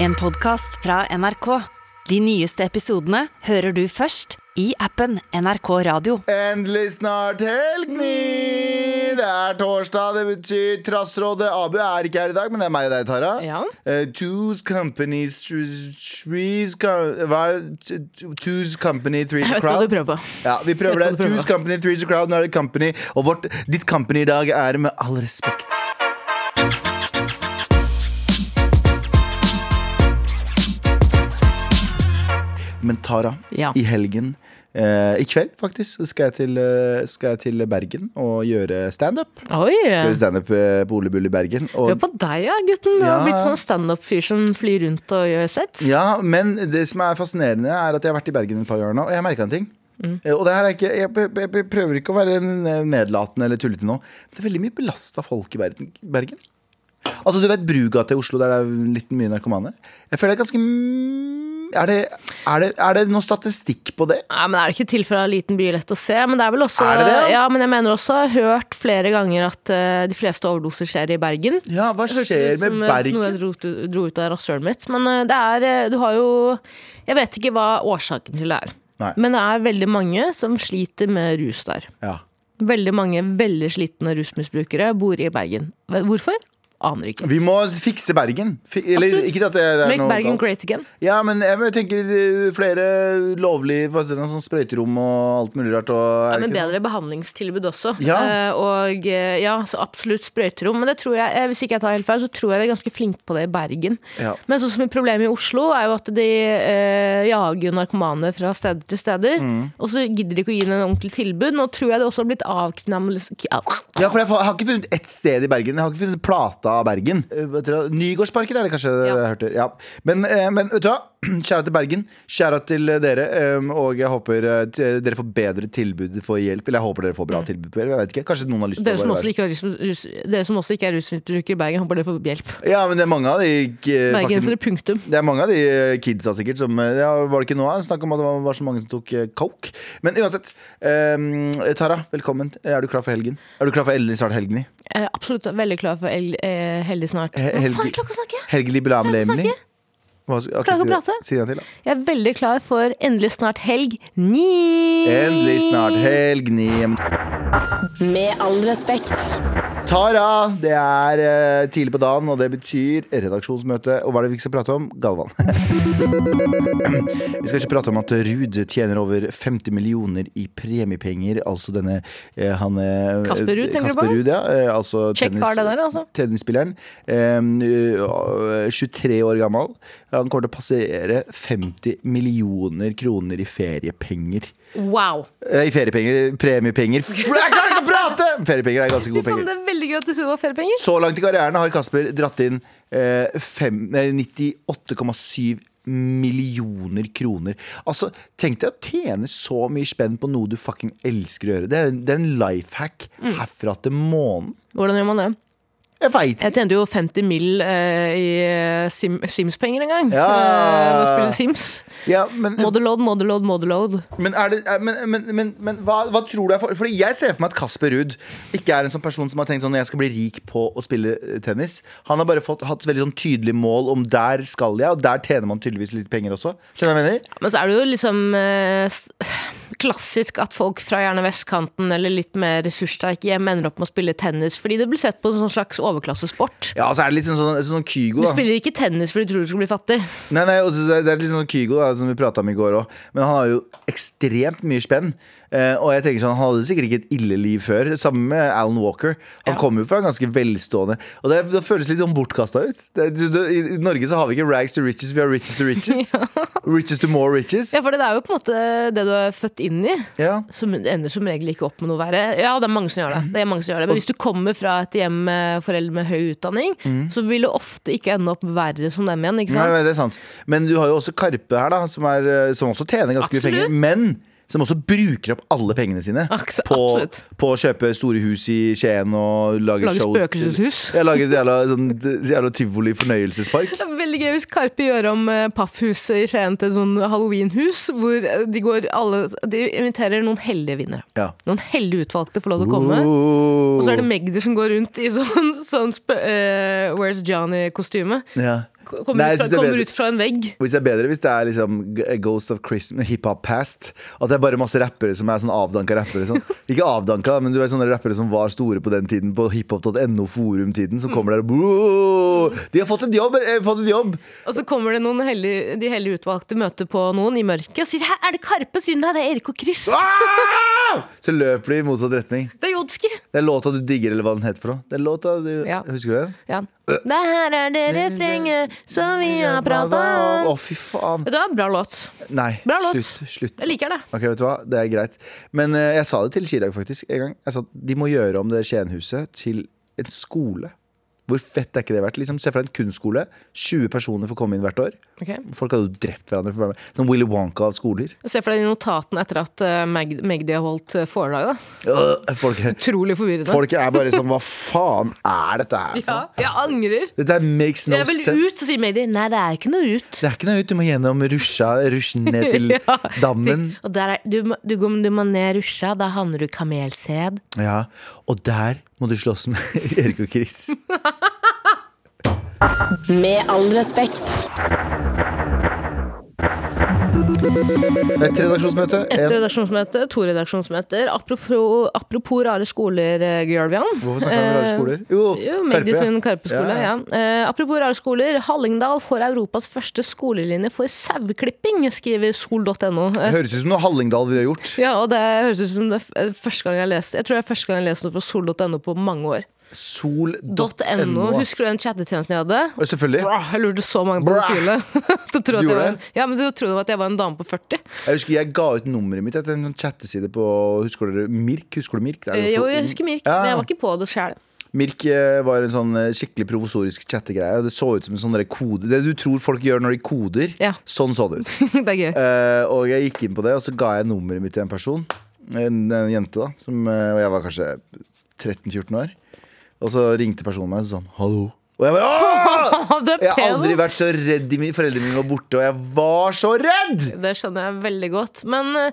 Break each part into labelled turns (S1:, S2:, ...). S1: En podcast fra NRK. De nyeste episodene hører du først i appen NRK Radio.
S2: Endelig snart helg, ni!
S3: Mm.
S2: Det er torsdag, det betyr Trassrådet. Abu er ikke her i dag, men det er meg og deg, Tara.
S3: Ja.
S2: Eh, two's company, thr- three's co- Hva er det? T- Two's company, three's
S3: Jeg vet hva
S2: crowd.
S3: du prøver på.
S2: Ja, vi prøver det.
S3: Jeg vet hva du prøver.
S2: Two's company, three's crowd. Nå er det company. Og vårt, ditt company i dag er med all respekt. Men Tara,
S3: Ja.
S2: i helgen eh, I kveld, faktisk, så skal jeg til, eh, skal jeg til Bergen og gjøre standup.
S3: Oi!
S2: Gjøre standup eh, på Ole Bull i Bergen. Og
S3: Hør på deg, ja, gutten. Du har
S2: Ja.
S3: blitt sånn standup-fyr som flyr rundt og gjør sets.
S2: Ja, men det som er fascinerende er at jeg har vært i Bergen et par ganger nå, og jeg merka en ting. Eh, Og det her er ikke, jeg, jeg, jeg prøver ikke å være n- nedlatende eller tullete nå. men Det er veldig mye belasta folk i Bergen. Bergen. Altså, Du vet Brugata i Oslo, der det er litt mye narkomane? Jeg føler det er ganske mm, er det, er, det, er det noe statistikk på det?
S3: Nei, men Er det ikke til fra en liten by lett å se? Men det er vel også
S2: Er det det, ja?
S3: Ja, men jeg mener også jeg har hørt flere ganger at eh, de fleste overdoser skjer i Bergen.
S2: Ja, hva
S3: Det
S2: skjer
S3: ut
S2: med
S3: som, eh,
S2: Bergen?
S3: Noe jeg dro, ut- dro ut av rasshølet mitt. Men eh, det er eh, Du har jo Jeg vet ikke hva årsaken til det er.
S2: Nei.
S3: Men det er veldig mange som sliter med rus der.
S2: Ja.
S3: Veldig mange veldig slitne rusmisbrukere bor i Bergen. Hvorfor? Aner ikke.
S2: Vi må fikse Bergen. Fi- Eller,
S3: Absolutt.
S2: ikke at det er
S3: Make
S2: noe
S3: Bergen
S2: galt.
S3: great again.
S2: Ja, men jeg tenker eh, flere lovlige hva heter det, sånn sprøyterom og alt mulig rart. Og, er
S3: Ja,
S2: det
S3: men
S2: ikke det?
S3: bedre behandlingstilbud også.
S2: Ja.
S3: Eh, og eh, ja, så absolutt sprøyterom. Men det tror jeg, eh, hvis ikke jeg tar helt feil, så tror jeg de er ganske flinke på det i Bergen.
S2: Ja.
S3: Men sånn som et problem i Oslo er jo at de eh, jager jo narkomane fra steder til steder.
S2: Mm.
S3: Og så gidder de ikke å gi dem en ordentlig tilbud. Nå tror jeg det også har blitt avkriminalisert
S2: Ja, for jeg har ikke funnet ett sted i Bergen. Jeg har ikke funnet plata av Bergen. Eh, vet dere hva? Nygårdsparken er det kanskje
S3: Ja.
S2: jeg hørte. Ja. Men, eh, men vet du hva? Kjære til Bergen, kjære til dere. eh, Og jeg håper eh, t- dere får bedre tilbud for hjelp. Eller jeg håper dere får bra tilbud på hjelp. Jeg vet ikke. Kanskje noen har lyst til
S3: Mm. Dere
S2: å
S3: som,
S2: bare
S3: også ikke har rus, rus, dere som også ikke er rusmisbrukere i Bergen, håper dere får hjelp.
S2: Ja, men det er mange av de eh, faktisk-
S3: Bergensere, punktum.
S2: det er mange av de eh, kidsa sikkert som eh, ja, Var det ikke noe av? Snakk om at det var- var så mange som tok eh, coke. Men uansett. eh, Tara, velkommen. Er du klar for helgen? Er du klar for endelig snart helgen? i?
S3: Jeg er Eh, absolutt veldig klar for el, eh, heldig snart.
S2: He-
S3: Hva
S2: heldig-
S3: faen, klarer ikke å snakke?
S2: Helgelig bilam
S3: Klarer ikke å
S2: lemli?
S3: snakke. Klarer ikke å prate.
S2: Si det en til, da.
S3: Jeg er veldig klar for endelig snart helg ni.
S2: Endelig snart
S3: Eh.
S2: helg ni.
S1: Med all respekt.
S2: Tara, det er eh, tidlig på dagen, og det betyr redaksjonsmøte. Og hva er det vi skal prate om? Galvan. vi skal ikke prate om at Ruud tjener over 50 millioner i premiepenger. Altså denne eh, han eh,
S3: Kasper Ruud, tenker du
S2: Kasper
S3: på?
S2: Ruud, ja. eh, altså
S3: Kjekk
S2: tennis-
S3: kar, det der, altså.
S2: Tennisspilleren. eh, 23 år gammel. Han kommer til å passere 50 millioner kroner i feriepenger.
S3: Wow.
S2: Eh, I feriepenger, premiepenger F- Jeg klarer ikke å prate! Feriepenger er ganske
S3: Fy
S2: gode
S3: faen,
S2: penger.
S3: det er veldig gøy at du så var feriepenger.
S2: Så langt i karrieren har Kasper dratt inn eh, fem- nei, 98,7 millioner kroner. Altså, Tenk deg å tjene så mye spenn på noe du fucking elsker å gjøre. Det er en, det er en life hack herfra til månen.
S3: Hvordan gjør man det?
S2: Jeg veit
S3: Jeg tjente jo 50 mill. eh, i eh, Sim Sims-penger en gang.
S2: Ja.
S3: Eh, Med å spille Sims.
S2: ja, men,
S3: Motherload, motherload, motherload.
S2: men, er det, er- men, men, men, men hva, hva tror du er for Fordi jeg ser for meg at Kasper Ruud ikke er en sånn person som har tenkt sånn jeg skal bli rik på å spille eh, tennis. Han har bare fått, hatt veldig sånn tydelig mål om der skal jeg, og der tjener man tydeligvis litt penger også. Skjønner du hva jeg mener?
S3: Men så er det jo liksom eh, s- klassisk at folk fra gjerne vestkanten eller litt mer ressurssterke hjem ender opp med å spille tennis fordi det blir sett på som en slags overklassesport.
S2: Ja, og så er det litt sånn, sånn, sånn Kygo,
S3: Du
S2: da.
S3: spiller ikke tennis fordi du tror du skal bli fattig.
S2: Nei, nei, og så- det er litt sånn Kygo da, som vi prata om i går òg. Men han har jo ekstremt mye spenn. Eh, og jeg tenker sånn, Han hadde sikkert ikke et ille liv før. Sammen med Alan Walker. Han
S3: Ja.
S2: kommer jo fra ganske velstående. Og det, er- det føles litt sånn bortkasta ut. Det, du, du, I i Norge så har vi ikke rags to riches, vi har riches to riches. Riches to more riches.
S3: Ja, for det er jo på en måte det du er født inn i.
S2: Ja.
S3: som ender som regel ikke opp med noe verre. Ja, det er mange som gjør det. det, er mange som gjør det. Men hvis du kommer fra et hjem med foreldre med høy utdanning, så vil du ofte ikke ende opp verre som dem igjen.
S2: Mm. Nei,
S3: ikke sant?
S2: nei, det er sant. Men du har jo også Karpe her, da, som, er, eh, som også tjener ganske mye
S3: Absolutt.
S2: penger. Men som også bruker opp alle pengene sine
S3: Aks-
S2: på,
S3: absolutt.
S2: på å kjøpe store hus i Skien og lage,
S3: Lage
S2: shows.
S3: spøkelseshus.
S2: Jeg lager et jævla, sånn, jævla tivoli fornøyelsespark.
S3: Det er veldig gøy hvis Karpe gjør om eh, Paffhuset i Skien til et sånn halloweenhus, hvor eh, de, går alle, de inviterer noen heldige vinnere.
S2: Ja.
S3: Noen heldig utvalgte får lov til å komme. Og så er det Magdi som går rundt i sånn, sånn spø- eh, Where's Johnny-kostyme.
S2: ja.
S3: Kommer,
S2: Nei, jeg synes det
S3: ut, fra,
S2: er
S3: kommer
S2: bedre.
S3: ut fra en vegg.
S2: Hvis det er bedre hvis det er liksom G- Ghost of Christmas, hiphop past. At det er bare masse rappere som er sånn avdanka rappere. Sånn. Ikke avdanka, men du er sånne rappere som var store på den tiden, på hiphop.no forum-tiden, som kommer der og «Boo! De har fått en jobb! eh, Fått en jobb!
S3: Og så kommer det noen hellig, de hellig utvalgte møter på noen i mørket og sier Hæ, er det Karpe? Sier de, nei, det er Erik og Chris.
S2: Ah! Så løper de i motsatt retning.
S3: Det er Jodski.
S2: Det er låta du digger, eller hva den heter for noe. Det er låta du,
S3: Ja.
S2: Husker du den?
S3: Ja. Det her er det refrenget som vi har prata
S2: Å,
S3: om.
S2: fy faen.
S3: Vet du hva, bra låt.
S2: Nei,
S3: Bra låt.
S2: slutt. slutt.
S3: Jeg liker det.
S2: Ok, vet du hva? Det er greit. Men eh, jeg sa det til Chirag faktisk en gang. Jeg sa at de må gjøre om det Skienhuset til en skole. Hvor fett er ikke det vært? Liksom, se fra en kunstskole. 20 personer får komme inn hvert år.
S3: Ok.
S2: Folk hadde jo drept hverandre. For å være med. Sånn Willy Wonka av skoler.
S3: Se for deg de notatene etter at eh, Mag Magdi har holdt eh, foredrag. da.
S2: Øh, Folk,
S3: Utrolig forvirrende.
S2: folk er bare sånn Hva faen er dette her? for
S3: Ja,
S2: noe?
S3: jeg angrer.
S2: Dette makes no
S3: Jeg vil
S2: sense.
S3: ut, så sier Magdi. Nei, det er ikke noe ut.
S2: Det er ikke noe ut. Du må gjennom rusja, rusjen ned til
S3: Ja.
S2: dammen.
S3: Og der er, du, må- du, går- du må ned rusja, da havner du i kamelsæd.
S2: Ja, Og der må du slåss med Erik og Chris.
S1: Med all respekt.
S2: Et redaksjonsmøte.
S3: Et
S2: En,
S3: redaksjonsmøte, to redaksjonsmøter. Apropos, apropos rare skoler, eh, Gjølvian.
S2: hvorfor snakker vi om rare
S3: Eh,
S2: skoler? Jo,
S3: Jo,
S2: Karpe.
S3: Magdi sin Karpe-skole,
S2: Ja,
S3: ja. Eh, apropos rare skoler. Hallingdal får Europas første skolelinje for saueklipping, skriver sol.no. Eh,
S2: Det høres ut som noe Hallingdal ville gjort.
S3: Ja, og det høres ut som det er f- eh, første gang jeg har lest Jeg tror det er første gang jeg har lest noe fra sol.no på mange år.
S2: Sol.no.
S3: .no. Husker du den chattetjenesten jeg hadde?
S2: Og Selvfølgelig.
S3: Bra, jeg lurte så mange på
S2: Bra.
S3: profilene. Du trodde jeg
S2: Gjorde
S3: var-
S2: det?
S3: ja, men du trodde at jeg var en dame på 40?
S2: Jeg husker jeg ga ut nummeret mitt etter en sånn chatteside på Husker dere Mirk? Husker du Mirk? Det er
S3: Eh, Jo,
S2: for-
S3: jeg husker Mirk,
S2: Ja.
S3: men jeg var ikke på det sjæl.
S2: Mirk eh, var en sånn eh, skikkelig provisorisk chattegreie. og Det så ut som en sånn der kode Det du tror folk gjør når de koder.
S3: Ja.
S2: Sånn så det ut.
S3: det er gøy.
S2: Eh, og jeg gikk inn på det, og så ga jeg nummeret mitt til en person. En, en jente, da. Som, eh, og jeg var kanskje 13-14 år. Og så ringte personen meg og sånn Hallo. Og jeg bare Åh!
S3: det er
S2: Jeg har
S3: pen.
S2: aldri vært så redd. i mine- Foreldrene mine var borte, og jeg var så redd!
S3: Det skjønner jeg veldig godt. Men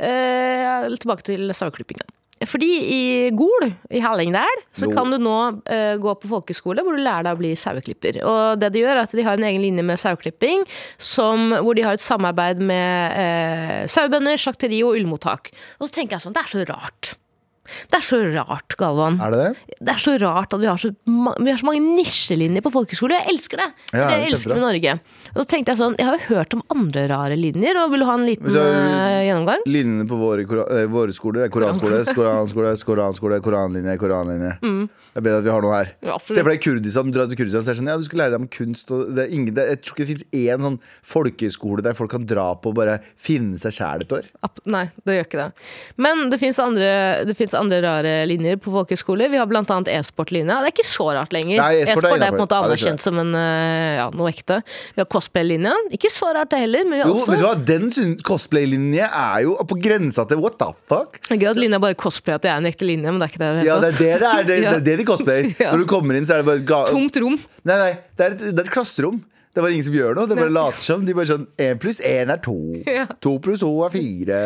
S3: eh, tilbake til saueklippinga. Fordi i Gol i Hallingdal så
S2: Gol.
S3: kan du nå eh, gå på folkeskole hvor du lærer deg å bli saueklipper. Og det de gjør er at de har en egen linje med saueklipping som, hvor de har et samarbeid med eh, sauebønder, slakteri og ullmottak. Og så tenker jeg sånn, det er så rart. Det er så rart, Galvan.
S2: Er det det?
S3: Det er så rart at vi har så, ma vi har så mange nisjelinjer på folkeskole. Jeg elsker det!
S2: Ja,
S3: det
S2: det er
S3: jeg elsker
S2: kjempebra.
S3: med Norge. Og så tenkte jeg sånn, jeg har jo hørt om andre rare linjer, og vil du ha en liten
S2: Men så er det-
S3: eh, gjennomgang?
S2: Linjene på våre, kora- eh, våre skoler er koranskole, skoranskole, skoranskole, koranlinje, koranlinje. Det er bedre at vi har noe her.
S3: Mm. Ja, absolutt.
S2: Se for deg Kurdistan. Dra til Kurdistan så er det sånn, ja, du skal lære deg om kunst. Og det er ingen, det, jeg tror ikke det fins én sånn folkeskole der folk kan dra på og bare finne seg sjæl et år.
S3: App- Nei, det gjør ikke det. Men det fins andre, det finnes andre rare linjer på folkehøyskole. Vi har bl.a. e-sportlinja. Det er ikke så rart lenger.
S2: Nei, e-sport er
S3: E-sport er på en
S2: innenfor.
S3: måte
S2: Ja, det skjønner jeg.
S3: anerkjent som en, eh, ja, noe ekte. Vi har cosplay-linja. Ikke så rart det heller, men vi har
S2: Jo, vet du
S3: også
S2: hva, Den syn- cosplay-linje er jo på grensa til what the fuck.
S3: Det er Gøy at linja bare cosplayer at det er en ekte linje, men det er ikke det. i det
S2: Ja,
S3: hele
S2: Det er det det er, det,
S3: Ja.
S2: det, er det de cosplayer.
S3: Ja.
S2: Når du kommer inn, så er det bare ga
S3: tatt. Tomt rom.
S2: Nei, nei, det er et, det er et klasserom. Det er bare ingen som gjør noe. Det bare later som. De bare sånn Én pluss én er to.
S3: Ja.
S2: To pluss to er fire.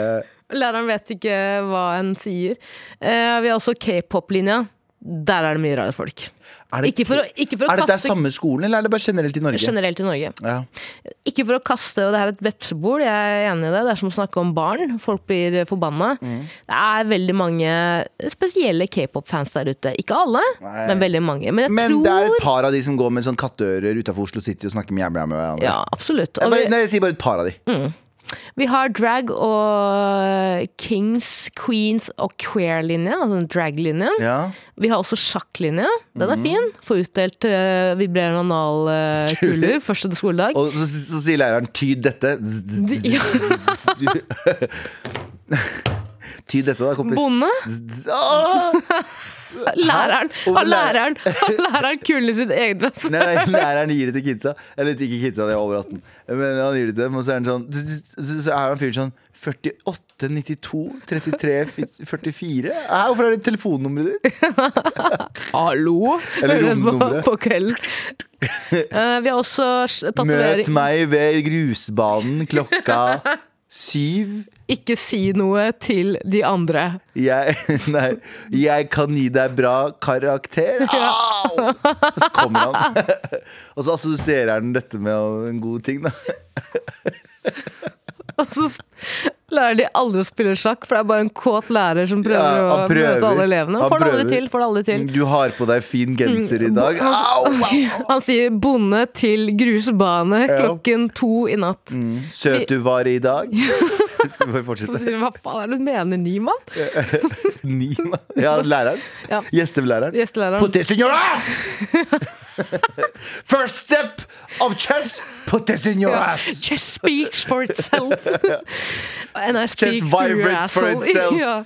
S3: Læreren vet ikke hva en sier. Eh, vi har også k-pop-linja. Der er det mye rare folk.
S2: Er
S3: Ikke for å, ikke for å
S2: er dette
S3: kaste
S2: samme skolen, eller er det bare generelt i Norge?
S3: generelt i Norge.
S2: Ja.
S3: Ikke for å kaste, og det her er et vepsebol, jeg er enig i det. Det er som å snakke om barn. Folk blir forbanna.
S2: Mm.
S3: Det er veldig mange spesielle k-pop-fans der ute. Ikke alle,
S2: Nei.
S3: men veldig mange. Men jeg
S2: Men det er
S3: tror
S2: et par av de som går med sånn katteører utafor Oslo City og snakker med jævla med hverandre.
S3: Ja, absolutt.
S2: Jeg,
S3: Og
S2: bare,
S3: vi, Mm.
S2: nei, jeg sier bare et par av de.
S3: vi har drag og eh, kings, queens og queer-linje, altså den drag-linjen.
S2: Ja.
S3: Vi har også sjakklinje. Den
S2: Mhm.
S3: er fin. Får utdelt eh, vibrerende analkuler første skoledag.
S2: Og så, så, så sier læreren 'tyd dette'. Zzz, zzz,
S3: Ja.
S2: zzz. Tyd dette, da, kompis.
S3: Bonde.
S2: Zzz, zzz. Åh!
S3: Læreren
S2: Og
S3: har
S2: lærer-
S3: læreren, har læreren kulen i sitt eget dress.
S2: Nei, nei, læreren gir det til kidsa. Eller ikke kidsa, de er over 18. Men han gir det til dem, og så er han sånn Så så er han fyren sånn 48, 92, 33, 44. Hæ, hvorfor er det telefonnummeret ditt?
S3: Hallo!
S2: Eller
S3: Hører på-
S2: romnummeret.
S3: På kvelden. Eh, vi har også s-
S2: Møt
S3: tatovering
S2: meg ved grusbanen klokka syv
S3: Ikke si noe til de andre.
S2: Jeg, nei, jeg kan gi deg bra karakter. Au! Så kommer han. Og så assosierer han dette med en god ting, da.
S3: Og så sp- lærer de aldri å spille sjakk, for det er bare en kåt lærer som prøver
S2: Ja,
S3: å
S2: han prøver.
S3: møte alle elevene.
S2: Han
S3: Får det aldri
S2: prøver.
S3: til. Får det aldri til.
S2: Du har på deg fin genser i dag. Au!
S3: Han, sier- han sier 'bonde til grusbane' klokken to i natt.
S2: Mm. Søt du var i dag. Skal vi bare
S3: Så
S2: fortsette?
S3: sier han, Hva faen er det du mener, Niemann?
S2: Ni, da. ja, læreren.
S3: Ja.
S2: Gjestelæreren.
S3: Gjestelæreren.
S2: Put this in your ass! First step of chess, put this in your ass!
S3: Chess speaks for itself. And I speak
S2: Chess
S3: through your
S2: vibrates for
S3: asshole.
S2: itself.
S3: ja.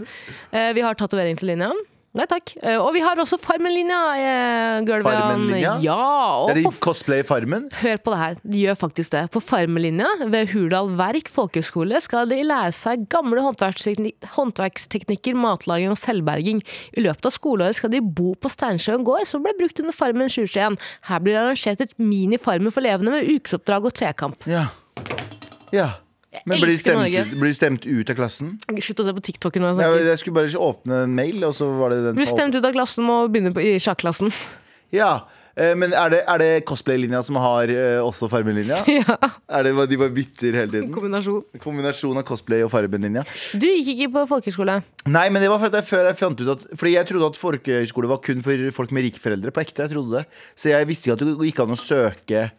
S3: Eh, Vi har tatoveringslinja. Nei takk. Eh, Og vi har også Farmen-linja. eh, Gulvan.
S2: Farmen-linja?
S3: Ja, og
S2: Er det
S3: på
S2: cosplay i Farmen?
S3: Hør på det her, de gjør faktisk det. På Farmelinja ved Hurdal Verk folkehøgskole skal de lære seg gamle håndverkstekni- håndverksteknikker, matlaging og selvberging. I løpet av skoleåret skal de bo på Steinsjøen gård, som ble brukt under Farmen 2021. Her blir det arrangert et mini-Farmen for levende med ukesoppdrag og tvekamp.
S2: Ja. ja. Men blir du
S3: elsker
S2: stemt,
S3: Norge.
S2: blir du stemt ut av klassen?
S3: Slutt å se på TikTok nå.
S2: Jeg,
S3: snakker.
S2: jeg skulle bare ikke åpne en mail, og så var det den
S3: Blir
S2: som
S3: stemt ut av klassen og begynne på, i sjakklassen.
S2: Ja, eh, men er det, er det cosplay-linja som har eh, også farmelinja?
S3: ja,
S2: Er det hva de bare bytter hele tiden?
S3: kombinasjon.
S2: Kombinasjon av cosplay og farmelinja.
S3: Du gikk ikke på folkehøgskole.
S2: Nei, men det var fordi jeg før jeg fant ut at Fordi jeg trodde at folkehøyskole var kun for folk med rike foreldre. På ekte, jeg trodde det Så jeg visste ikke at det gikk an å søke eh,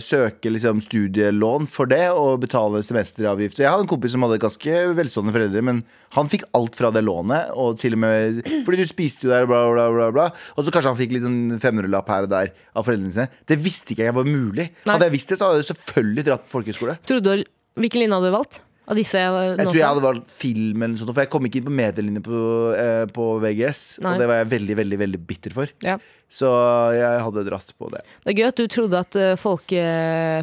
S2: Søke liksom studielån for det og betale semesteravgift. Så jeg hadde en kompis som hadde ganske velstående foreldre, men han fikk alt fra det lånet. Og til og med Fordi du spiste jo der, bla, bla, bla. bla Og så kanskje han fikk litt sånn 500-lapp her og der av foreldrene sine. Det visste ikke jeg var mulig.
S3: Nei.
S2: Hadde jeg visst det, så hadde jeg selvfølgelig dratt folkehøyskole.
S3: Trodde du, hvilken linje hadde du valgt? Av disse jeg
S2: Jeg tror jeg hadde valgt film, eller noe sånt, for jeg kom ikke inn på medielinje på, eh, på VGS.
S3: Nei.
S2: Og det var jeg veldig veldig, veldig bitter for.
S3: ja.
S2: Så jeg hadde dratt på det.
S3: Det er gøy at du trodde at eh, folke,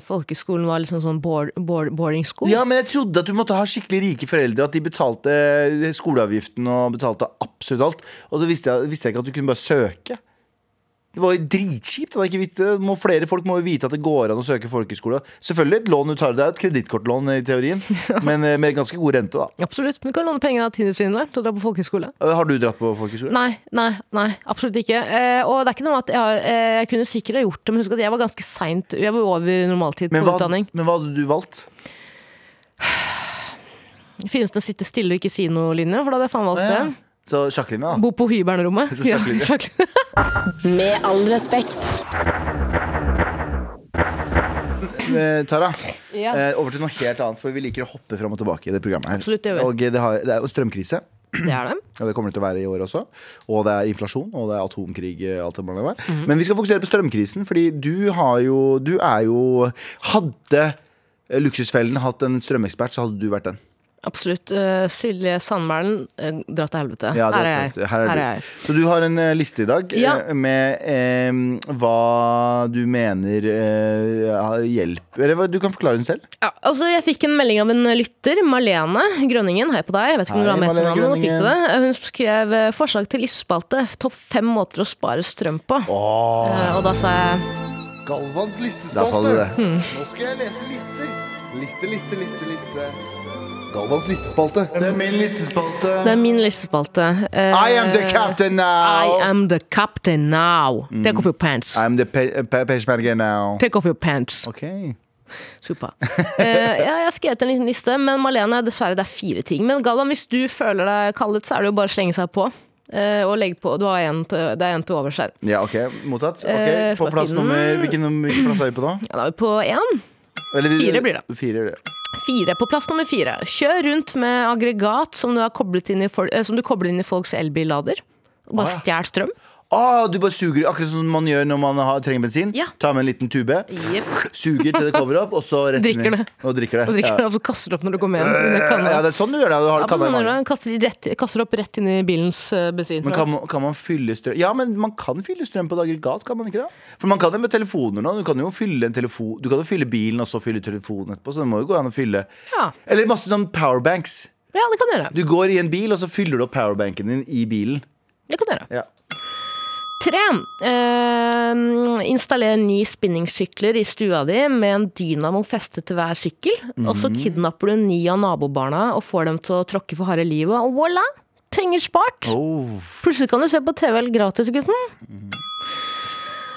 S3: folkeskolen var liksom sånn board, board, boarding school.
S2: Ja, men jeg trodde at du måtte ha skikkelig rike foreldre. At de betalte eh, skoleavgiften og betalte absolutt alt. Og så visste jeg, visste jeg ikke at du kunne bare søke. Det var jo dritkjipt. at jeg ikke visste det. Må flere folk må jo vite at det går an å søke folkehøyskole. Selvfølgelig et lån du tar. Det er et kredittkortlån i teorien, men eh, med ganske god rente, da.
S3: Absolutt. Men du kan låne penger av Tindersvindleren til å dra på folkehøyskole.
S2: Har du dratt på folkehøyskole?
S3: Nei, nei, nei, absolutt ikke. Eh, og det er ikke noe med at jeg, har, eh, jeg kunne sikkert ha gjort det, men husk at jeg var ganske seint. Jeg var over normaltid på
S2: Men hva,
S3: utdanning.
S2: men hva hadde du valgt?
S3: Finnes det en sitte stille og ikke si noe-linje? For da hadde jeg faen valgt
S2: Ja.
S3: det.
S2: Så sjakklinja, da.
S3: Bo på hybernrommet.
S2: Så sjakklinje.
S3: sjakklinje.
S1: Med all respekt.
S2: Eh, Tara,
S3: Ja.
S2: eh, over til noe helt annet, for vi liker å hoppe fram og tilbake i det programmet her.
S3: Absolutt, det gjør vi.
S2: og det, har, det er jo strømkrise,
S3: Det er det.
S2: og det kommer det til å være i år også. Og det er inflasjon, og det er atomkrig, eh, alt det bla, bla, bla.
S3: Mhm.
S2: Men vi skal fokusere på strømkrisen, fordi du har jo Du er jo Hadde eh, Luksusfellen hatt en strømekspert, så hadde du vært den.
S3: Absolutt. Eh, Silje Sandmælen, eh, dra til helvete.
S2: Ja, det
S3: her,
S2: er
S3: er
S2: klart.
S3: jeg.
S2: Her er du. Så du har en eh, liste i dag eh,
S3: Ja.
S2: med eh, hva du mener eh, hjelper Eller hva- du kan forklare den selv.
S3: Ja, altså Jeg fikk en melding av en lytter. Malene Grønningen. Hei på deg. Jeg vet ikke om du
S2: Hei,
S3: har med
S2: Malene
S3: etternavnet. men fikk du
S2: Grønningen.
S3: det? Hun skrev eh, forslag til listespalte. Topp fem måter å spare strøm på.
S2: Åh.
S3: Eh, Og da sa jeg
S4: Galvans
S2: Da Ah. sa
S4: listespalte.
S2: du det.
S4: Nå skal jeg lese lister. Liste, liste, liste, liste. Galvans listespalte.
S2: Det er min listespalte.
S3: det er min listespalte. Eh,
S2: I am the Mm. captain now.
S3: I am the captain now. Take off your pants.
S2: I'm the pe- pe- peshmerga now.
S3: Take off your pants.
S2: Ok.
S3: Super. Eh, ja, jeg har skrevet en liten liste, men Malene, dessverre, det er fire ting. Men Galvan, hvis du føler deg kallet, så er det jo bare å slenge seg på. eh, og legge på. Du har en til, det er en til overs her.
S2: Ja, ok, mottatt.
S3: Eh,
S2: Ok, På
S3: skal
S2: plass
S3: finne den.
S2: nummer Hvilken, num- hvilken plass er vi på da?
S3: Ja, da er vi på én.
S2: Eller vi-
S3: Fire blir det.
S2: Fire, blir det.
S3: Fire, på plass nummer fire. Kjør rundt med aggregat som du, har koblet inn i fol eh, som du kobler inn i folks elbillader. Og Bare
S2: Ah,
S3: stjel strøm.
S2: Ah, du bare suger, akkurat som man gjør når man har, trenger bensin.
S3: Ja.
S2: Ta med en liten tube, suger til det kommer opp, og så rett
S3: Drikker
S2: ned.
S3: det.
S2: Og drikker det.
S3: Og drikker
S2: ja.
S3: det, og så kaster du opp når du kommer hjem. under kanna.
S2: ja, det er sånn du gjør det. Du har
S3: Ja, på
S2: kanna i
S3: sånne
S2: magen.
S3: der, kaster, de rett, kaster opp rett inn i bilens eh, bensin.
S2: Men kan, man- kan man fylle strøm Ja, men man kan fylle strøm på et aggregat, kan man ikke det? For man kan det med telefoner nå. Du kan jo fylle, en telefon, du kan jo fylle bilen og så fylle telefonen etterpå, så det må jo gå an å fylle.
S3: Ja.
S2: Eller masse sånn powerbanks.
S3: ja, det kan du gjøre.
S2: Du går i en bil, og så fyller du opp powerbanken din i bilen.
S3: Det kan du gjøre.
S2: Ja.
S3: Tre. Eh, installer ni spinningsykler i stua di med en dynamo festet til hver sykkel. Og
S2: Mhm.
S3: så kidnapper du ni av nabobarna og får dem til å tråkke for harde livet. Og voilà! Penger spart.
S2: Oh,
S3: Plutselig kan du se på TV-L gratis, gutten.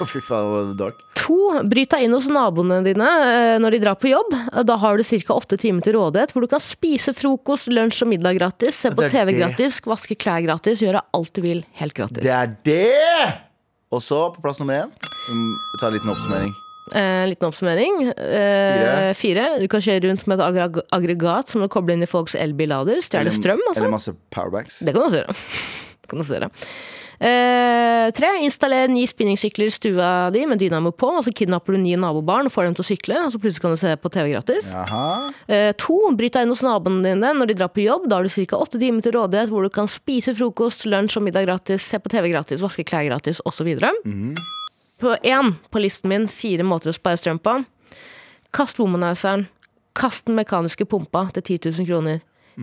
S2: fy faen, det var dark.
S3: To, bryt deg inn hos naboene dine eh, når de drar på jobb. Eh, Da har du ca. åtte timer til rådighet, hvor du kan spise frokost, lunsj og middag gratis, se på
S2: Det er
S3: TV
S2: det.
S3: gratis, vaske klær gratis, gjøre alt du vil helt gratis.
S2: Det er det! Og så, på plass nummer én mm, Ta en liten oppsummering.
S3: Eh, liten oppsummering. Eh, fire. Du kan kjøre rundt med et aggra- aggregat som du kobler inn i folks elbillader. Stjele strøm, altså.
S2: Eller masse powerbanks.
S3: Det kan du også gjøre. Det kan du også gjøre. Eh, tre. Installer ni spinningsykler i stua di med dynamo på, og så kidnapper du ni nabobarn og får dem til å sykle, og så plutselig kan du se på TV gratis.
S2: Jaha.
S3: Eh, To, bryt deg inn hos naboene dine når de drar på jobb. Da har du ca. åtte timer til rådighet hvor du kan spise frokost, lunsj og middag gratis, se på TV gratis, vaske klær gratis osv. På én på listen min, fire måter å spare strøm på. Kast womanizeren. Kast den mekaniske pumpa til 10 000 kroner.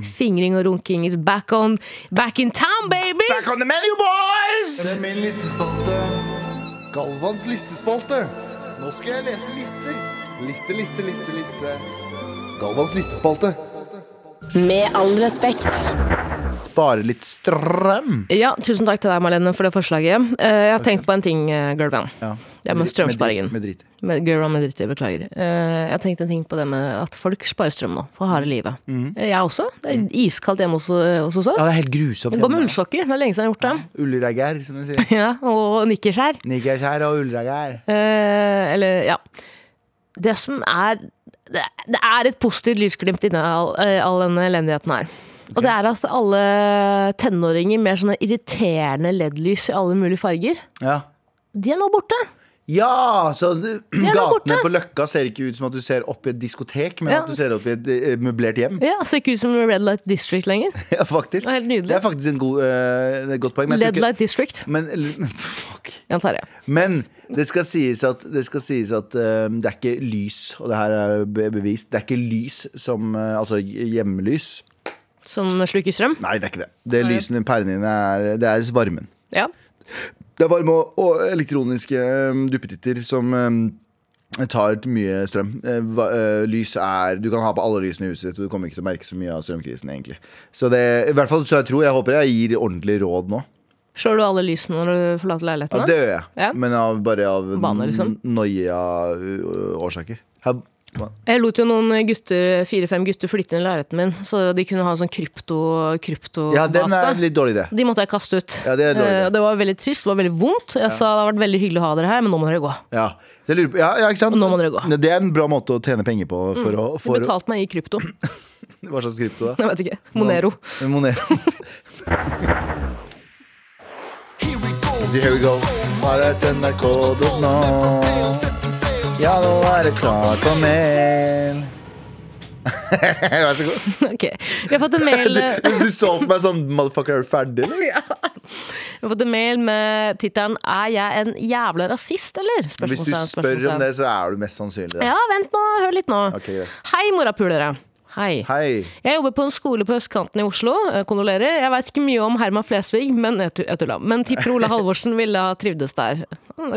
S3: Fingring og runking is back on Back in town, baby!
S2: Back on the menu, boys!
S4: Det er min listespalte. Galvans listespalte. Nå skal jeg lese lister. Liste, liste, liste, liste. Galvans listespalte.
S5: Med all respekt.
S2: Spare litt strøm.
S3: Ja, tusen takk til deg, Marlene, for det forslaget. Eh, Jeg har tenkt på en ting, eh, Gulven.
S2: Ja.
S3: Det er med strømsparingen.
S2: Med drit.
S3: Med, girl, med dritt, jeg beklager. Eh, jeg tenkte en ting på det med at folk sparer strøm nå, for harde livet. Eh, Jeg også. Det er iskaldt hjemme hos, eh, hos oss.
S2: Mm. Ja, det er helt grusomt.
S3: Jeg går med ullsokker, det er lenge siden jeg har gjort det.
S2: Ullreger, som de sier.
S3: Ja, og nikkerskjær.
S2: Nikkerskjær og ullreger.
S3: Eh, eller, ja. Det som er Det det er et positivt lysglimt inni all, eh, all denne elendigheten her. Og det er at alle tenåringer med sånne irriterende LED-lys i alle mulige farger,
S2: Ja.
S3: de er nå borte.
S2: Ja, så du-
S3: er nå
S2: gatene
S3: borte.
S2: på Løkka ser ikke ut som at du ser opp i et diskotek, men
S3: Ja.
S2: at du ser opp i et eh, møblert hjem.
S3: Ja, Ser ikke ut som Red Light District lenger.
S2: Ja, faktisk.
S3: Det er helt nydelig.
S2: Det er faktisk en god, eh, et godt poeng. Men, jeg
S3: Led
S2: tror ikke-
S3: Light District.
S2: men, fuck.
S3: Jan Terje.
S2: men det skal sies at, det, skal sies at eh, det er ikke lys, og det her er be- bevist, det er ikke lys som eh, Altså hjemmelys.
S3: Som sluker strøm?
S2: Nei, det er ikke det. Det lysene pærene dine er, det er varmen.
S3: Ja.
S2: Det er varme og, og elektroniske eh, duppetitter som eh, tar mye strøm. Eh, va- eh, lys er Du kan ha på alle lysene i huset ditt, og du kommer ikke til å merke så mye av strømkrisen, egentlig. Så det I hvert fall så jeg tror Jeg håper jeg gir ordentlig råd nå.
S3: Slår du alle lysene når du forlater
S2: Ja,
S3: leiligheten?
S2: det gjør jeg.
S3: Ja.
S2: Men av, bare av uh,
S3: Vane, liksom.
S2: noia-årsaker.
S3: Jeg lot jo noen gutter, fire-fem gutter flytte inn i leiligheten min, så de kunne ha en sånn krypto, kryptobase.
S2: Ja, den er en litt dårlig idé.
S3: De måtte jeg kaste ut.
S2: Ja, det er dårlig.
S3: Eh, det var veldig trist, det var veldig vondt. Jeg sa det har vært veldig hyggelig å ha dere her, men nå må dere gå.
S2: Ja. Jeg lurer på, ja, ja, ikke sant?
S3: Og nå må dere gå. Mm.
S2: Det er en bra måte å tjene penger på. For å,
S3: De
S2: for å,
S3: betalte meg i krypto.
S2: hva slags krypto, da?
S3: Jeg vet ikke. Monero.
S2: Monero.
S4: Here we go.
S2: Here we go. Bare et nrk.no. Ja, nå er det klart for mail. Vær så god.
S3: ok. Vi har fått en mail eh,
S2: Du, du så på meg sånn Motherfucker, er du ferdig, eller?
S3: Vi har fått en mail med tittelen 'Er jeg en jævla rasist', eller?
S2: Hvis du
S3: Spørsmålstegn,
S2: spør om
S3: spørsmålstegn.
S2: det, så er du mest sannsynlig det.
S3: Ja, vent nå. Hør litt nå.
S2: Ok, greit.
S3: Hei, morapulere. Hei.
S2: Hei.
S3: Jeg jobber på en skole på østkanten i Oslo. eh, Kondolerer. Jeg veit ikke mye om Herman Flesvig, men jeg tu- jeg tulla. Men tipper Ole Halvorsen ville ha trivdes der.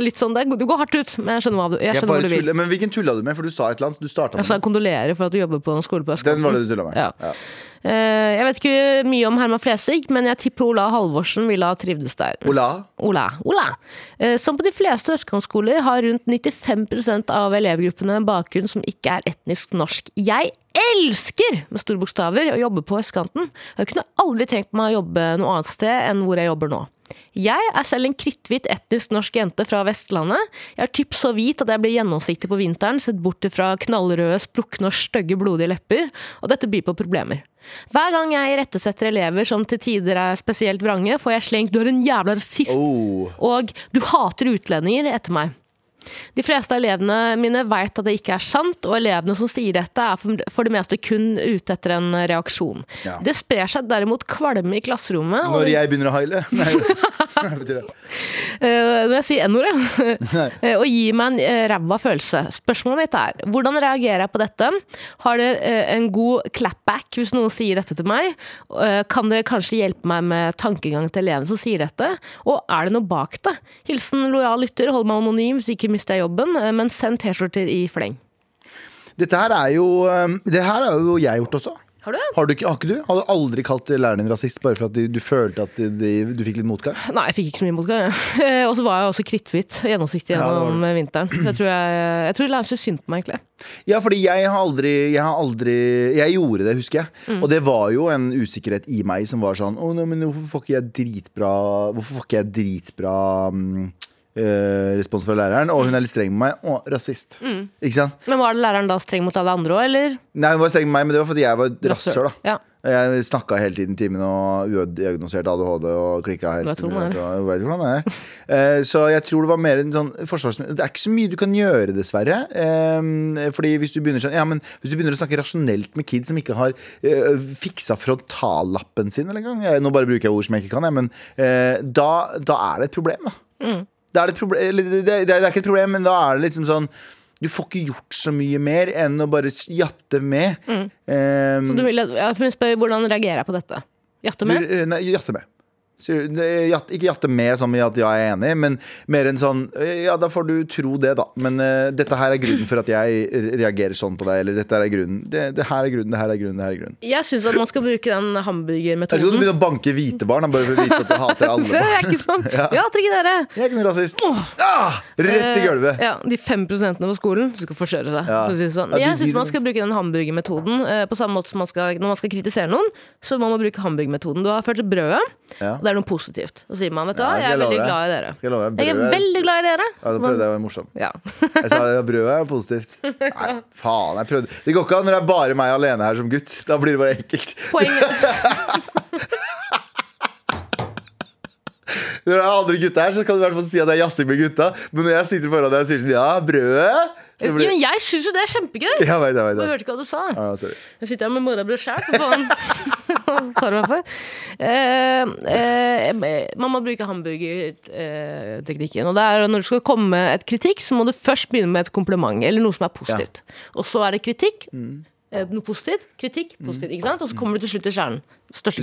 S3: Litt sånn, det, er- Du går hardt ut, men jeg skjønner hva du, jeg
S2: Jeg
S3: skjønner hvor
S2: bare
S3: du vil.
S2: tuller. Men hvilken tulla du med? For du sa et eller annet. Du starta
S3: Jeg
S2: med
S3: sa
S2: den.
S3: kondolerer for at du jobber på en skole på østkanten.
S2: Den var det du tulla med.
S3: Ja.
S2: Ja.
S3: Eh, Jeg vet ikke mye om Herman Flesvig, men jeg tipper Ola Halvorsen ville ha trivdes der.
S2: Ola?
S3: Ola. Ola. Eh, Som på de fleste østkantskoler har rundt 95 av elevgruppene en bakgrunn som ikke er etnisk norsk. Jeg elsker med store bokstaver å jobbe på østkanten. Jeg kunne aldri tenkt meg å jobbe noe annet sted enn hvor jeg jobber nå. Jeg er selv en kritthvit etnisk norsk jente fra Vestlandet. Jeg er typ så hvit at jeg blir gjennomsiktig på vinteren, sett bort fra knallrøde, sprukne og stygge blodige lepper, og dette byr på problemer. Hver gang jeg irettesetter elever som til tider er spesielt vrange, får jeg slengt 'du er en jævla rasist'
S2: Oh.
S3: og 'du hater utlendinger' etter meg. De fleste av elevene mine vet at det ikke er sant, og elevene som sier dette, er for- for det meste kun ute etter en reaksjon.
S2: Ja.
S3: Det sprer seg derimot kvalme i klasserommet. og-
S2: Når jeg begynner å haile. Nei, hva betyr det?
S3: Eh, Når jeg sier N-ordet. Eh, og gir meg en eh, ræva følelse. Spørsmålet mitt er hvordan reagerer jeg på dette? Har dere eh, en god clapback hvis noen sier dette til meg? Eh, Kan dere kanskje hjelpe meg med tankegangen til eleven som sier dette? Og er det noe bak det? Hilsen lojal lytter, hold meg anonym hvis ikke mister jeg jobben, eh, men send T-skjorter i fleng.
S2: Dette her er jo um, Det her har jo jeg gjort også.
S3: Har du?
S2: Har du ikke, har ikke du? Har du aldri kalt læreren din rasist bare for at du, du følte at de, de, du fikk litt motgang?
S3: Nei, jeg fikk ikke så mye motgang. jeg. Eh, Og så var jeg også kritthvit, gjennomsiktig
S2: Ja, det var
S3: gjennom vinteren. Så jeg tror, jeg, jeg tror læreren syntes synd på meg, egentlig.
S2: Ja, fordi jeg har aldri Jeg, har aldri, jeg gjorde det, husker jeg. Og det var jo en usikkerhet i meg som var sånn Å, nei, men hvorfor får ikke jeg dritbra Hvorfor får ikke jeg dritbra mm, eh, respons fra læreren? Og hun er litt streng med meg. Å, rasist. Ikke sant?
S3: Men var det læreren da streng mot alle andre òg, eller?
S2: Nei, hun var streng med meg, men det var fordi jeg var et rasshøl, da.
S3: Ja.
S2: Jeg snakka hele tiden i timen og udiagnosert ADHD og klikka hele
S3: Vet
S2: tiden.
S3: hvordan det er.
S2: og vet hvordan det er. Eh, Så jeg tror det var mer en sånn forsvarsminister Det er ikke så mye du kan gjøre, dessverre. Eh, Fordi hvis du begynner sånn Ja, men hvis du begynner å snakke rasjonelt med kids som ikke har eh, fiksa frontallappen sin eller engang jeg- Nå bare bruker jeg ord som jeg ikke kan, jeg, men eh, da, da er det et problem, da.
S3: Mm.
S2: Da er det, et proble- eller det, det, det er ikke et problem, men da er det liksom sånn Du får ikke gjort så mye mer enn å bare jatte med. Eh,
S3: Mm. Så du vil, ja, for hun spør hvordan reagerer jeg på dette. Jatte med?
S2: Du- eh, Nei, jatte med. Så, det- jatt- Ikke jatte med som i at ja, jeg er enig, men mer en sånn Ja, da får du tro det, da. Men eh, dette her er grunnen for at jeg reagerer sånn på deg. Eller dette her er grunnen. Det, det her er grunnen, det her er grunnen, det her er grunnen.
S3: Jeg syns at man skal bruke den
S2: Eller skal du
S3: hamburgermetoden.
S2: begynne å banke hvite barn da, bare for å vise at du hater alle.
S3: Se, jeg er ikke sånn. Ja, trikk dere!
S2: Jeg er ikke noe rasist. Ah, rett
S3: Eh,
S2: i gulvet.
S3: Ja, De fem prosentene på skolen som skal forskjøre seg.
S2: Ja.
S3: for å si det Sånn.
S2: Ja, de-
S3: Jeg syns
S2: de-
S3: man skal bruke den hamburgermetoden eh, på samme måte som man skal, når man skal kritisere noen. Så må man bruke hamburgermetoden. Du har ført til brødet,
S2: Ja.
S3: og det er noe positivt. Så sier man vet du
S2: Ja,
S3: hva,
S2: skal
S3: jeg
S2: jeg
S3: er
S2: love
S3: veldig
S2: deg.
S3: glad i dere.
S2: Skal jeg love deg,
S3: Jeg er
S2: brødet-
S3: veldig glad i dere.
S2: Ja,
S3: Så
S2: da
S3: man-
S2: prøvde jeg å være morsom.
S3: ja.
S2: Jeg sa ja, brødet er positivt. Nei, faen. jeg prøvde Det går ikke an når det er bare meg alene her som gutt. Da blir det bare ekkelt.
S3: Poenget
S2: Når det er andre gutter her, så kan du i hvert fall si at jeg jazzer med gutta. Men når jeg sitter foran deg og sier sånn Ja, brødet så
S3: Jo,
S2: blir-
S3: Men jeg syns jo det er kjempegøy!
S2: Jeg vet, jeg vet,
S3: Du
S2: jeg vet.
S3: hørte ikke hva du sa.
S2: Ja, ja, sorry.
S3: Jeg sitter her med morabrød sjøl, for faen. Tar du meg for? Eh, eh, man må bruke hamburgerteknikken. Og det er når du skal komme med et kritikk, så må du først begynne med et kompliment. Eller noe som er positivt. Og så er det kritikk.
S2: Mm.
S3: eh, Noe positivt. Kritikk. Positivt. Ikke sant? Og så kommer du til slutt til kjernen. Største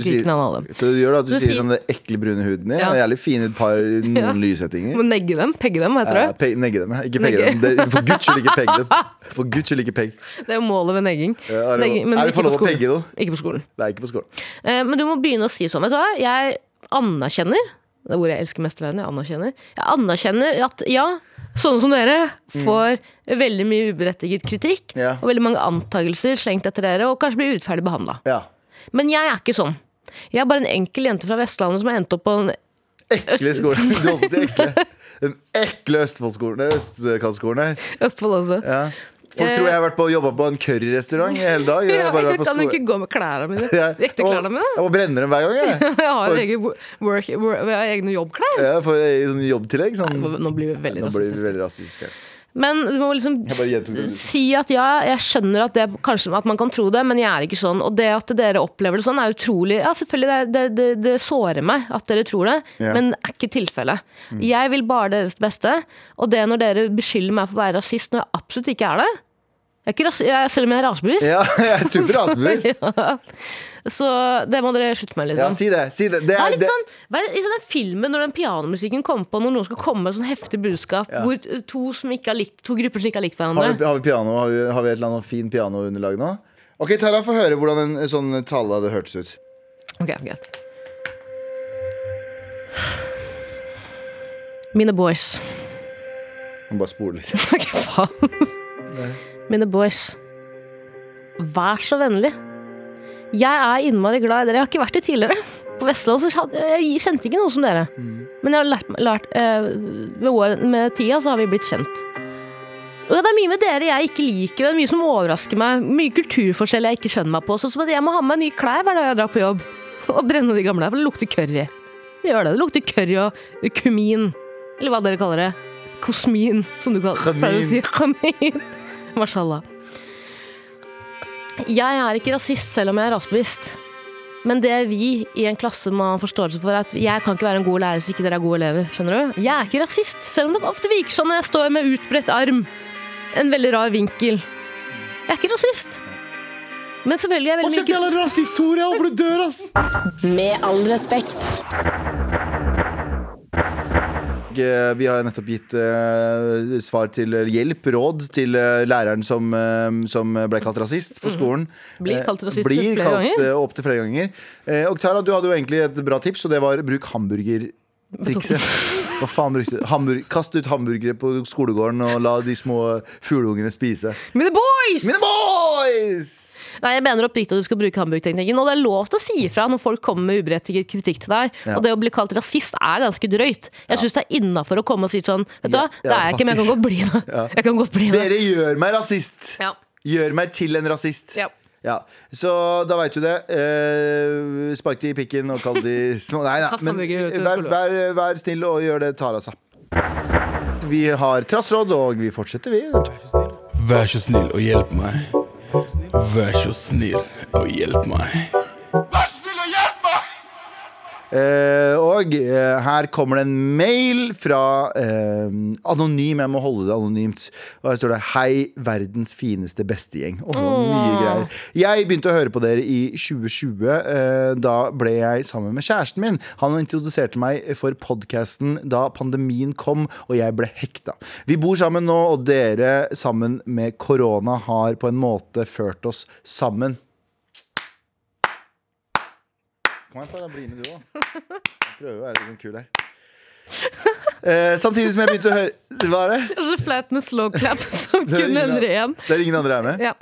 S2: Du sier-
S3: kritikken av alle.
S2: Så det gjør det at du,
S3: Du
S2: sier
S3: sier-
S2: sånn det ekle brune huden din.
S3: Ja.
S2: Ja. Jævlig fine et par noen
S3: Ja.
S2: lyssettinger.
S3: Må negge dem. Pegge dem, hva heter
S2: Eh,
S3: det?
S2: pe- Negge dem, ja. ikke pegge
S3: Negge.
S2: dem. Det, for guds skyld, ikke pegg dem. For guds skyld, ikke pegg.
S3: Det er jo målet ved negging.
S2: Ja, er det-
S3: Negging, men
S2: er det
S3: ikke
S2: for lov å
S3: på
S2: pegge
S3: skolen.
S2: noen?
S3: Ikke på skolen.
S2: Det er ikke på skolen.
S3: Eh, Men du må begynne å si sånn. Vet du hva? Jeg anerkjenner Det er ordet jeg elsker mest i verden. Jeg anerkjenner Jeg anerkjenner at ja, sånne som dere får veldig mye uberettiget
S2: Mm.
S3: kritikk
S2: Ja.
S3: og veldig mange antakelser slengt etter dere, og kanskje blir urettferdig behandla.
S2: Ja.
S3: Men jeg er ikke sånn. Jeg er bare en enkel jente fra Vestlandet som har endt opp på en
S2: Ekle skolen. Du holdt på å si ekle. Den ekle Østfoldskolen. det er Østkantskolen her.
S3: Østfold også.
S2: Ja. Folk
S3: Eh.
S2: tror jeg har vært på, jobba på en curryrestaurant i hele dag. Jeg har bare vært på
S3: kan jo
S2: skole.
S3: ikke gå med klærne mine.
S2: Jeg-
S3: De ekte klærne mine.
S2: Jeg må brenne dem hver gang, jeg.
S3: Jeg har,
S2: For-
S3: jo egne work, work, jeg har egne jobbklær.
S2: Ja, for i sånn jobbtillegg sånn,
S3: Nå blir vi veldig
S2: Nå blir vi
S3: rasistiske.
S2: veldig rasistiske
S3: Men du må liksom
S2: Jeg bare gjentok det.
S3: si at ja, jeg skjønner at, det, kanskje, at man kan tro det, men jeg er ikke sånn. Og det at dere opplever det sånn, er utrolig Ja, selvfølgelig, det, det, det, det sårer meg at dere tror det,
S2: Ja. Mm.
S3: men det er ikke tilfellet. Jeg vil bare deres beste, og det når dere beskylder meg for å være rasist når jeg absolutt ikke er det jeg er ikke ras jeg, Selv om jeg er rasebevisst.
S2: Ja, jeg er super rasbevisst
S3: Så det må dere slutte med,
S2: Ja,
S3: liksom.
S2: si det, si det. det,
S3: Det
S2: er,
S3: er litt
S2: det
S3: sånn, vær litt sånn den filmen når den pianomusikken kommer på, når noen skal komme med sånn heftig budskap,
S2: Ja.
S3: hvor to, som ikke har likt, to grupper som ikke har likt
S2: har,
S3: hverandre.
S2: vi, har vi piano? Har vi, har vi et eller annet fin pianounderlag nå? Ok, Tara, få høre hvordan en sånn tale hadde hørtes ut
S3: Ok, greit. Mine boys.
S2: Må Bare spole litt
S3: Ok, faen. Mine boys. Vær så vennlig. Jeg er innmari glad i dere. Jeg har ikke vært det tidligere. På Vestland så hadde- jeg kjente ikke noen som dere. Men jeg har lært, lært eh, med, år, med tida så har vi blitt kjent. Og det er mye med dere jeg ikke liker. Det er mye som overrasker meg. Mye kulturforskjell jeg ikke skjønner meg på. Sånn som at jeg må ha med meg nye klær hver dag jeg drar på jobb. Og brenne de gamle, for det lukter curry. Det gjør det. Det lukter curry og kumin. Eller hva dere kaller det. Kosmin, som du kaller
S2: Khamin.
S3: pleier å si. Khamin. Mashallah. Jeg er ikke rasist selv om jeg er rasebevisst. Men det vi i en klasse må ha forståelse for, er at jeg kan ikke være en god lærer hvis ikke dere er gode elever. skjønner du? Jeg er ikke rasist, selv om det ofte virker sånn når jeg står med utbredt arm. En veldig rar vinkel. Jeg er ikke rasist. Men selvfølgelig er jeg
S4: Hva
S3: veldig
S4: kjent
S3: mye
S4: jævla rasisthistorie? Jeg håper du dør, ass!
S5: Med all respekt.
S2: Eh, Vi har nettopp gitt eh, svar til eller hjelp, råd, til eh, læreren som, eh, som ble kalt rasist på skolen.
S3: Mm. Blir
S2: Eh,
S3: kalt rasist
S2: blir
S3: flere
S2: kalt,
S3: ganger.
S2: eh, Opptil flere ganger. Eh, Og Tara, du hadde jo egentlig et bra tips, og det var bruk hamburgertrikset. Hva faen brukte du? Hamburg Kast ut hamburgere på skolegården og la de små fugleungene spise.
S3: Mine boys!
S2: Mine boys!
S3: Nei, jeg mener oppriktig at du skal bruke hamburgerteknikken. Og det er lov til å si ifra når folk kommer med uberettiget kritikk til deg.
S2: Ja.
S3: Og det å bli kalt rasist er ganske drøyt. Jeg syns det er innafor å komme og si sånn Vet du hva,
S2: Ja,
S3: det er jeg ikke, men jeg kan godt bli det. Jeg kan godt bli det.
S2: Dere gjør meg rasist!
S3: Ja.
S2: Gjør meg til en rasist.
S3: Ja.
S2: Ja, Så da veit du det. Eh, spark de i pikken og kall de små Nei, nei.
S3: Kast
S2: Men
S3: hamburger ut i
S2: vær,
S3: skolegården.
S2: vær, vær snill og gjør det Tara sa. Vi har trassråd, og vi fortsetter, vi.
S6: Vær så snill og hjelp meg. Vær så snill og hjelp meg.
S2: Eh, og eh, her kommer det en mail fra eh, anonym. Jeg må holde det anonymt. Og her står det 'Hei, verdens fineste bestegjeng'. Åh, mye greier. Jeg begynte å høre på dere i 2020. Eh, da ble jeg sammen med kjæresten min. Han introduserte meg for podkasten da pandemien kom, og jeg ble hekta. Vi bor sammen nå, og dere sammen med korona har på en måte ført oss sammen. Kom igjen, Tara. Bli med, du òg. Prøver å være litt sånn kul her. Eh, samtidig som jeg begynte å høre Hva er det?
S3: Det er så flaut med slow clap som
S2: Det er
S3: kun
S2: ingen-
S3: ender igjen.
S2: Det er ingen andre her med.
S3: Ja.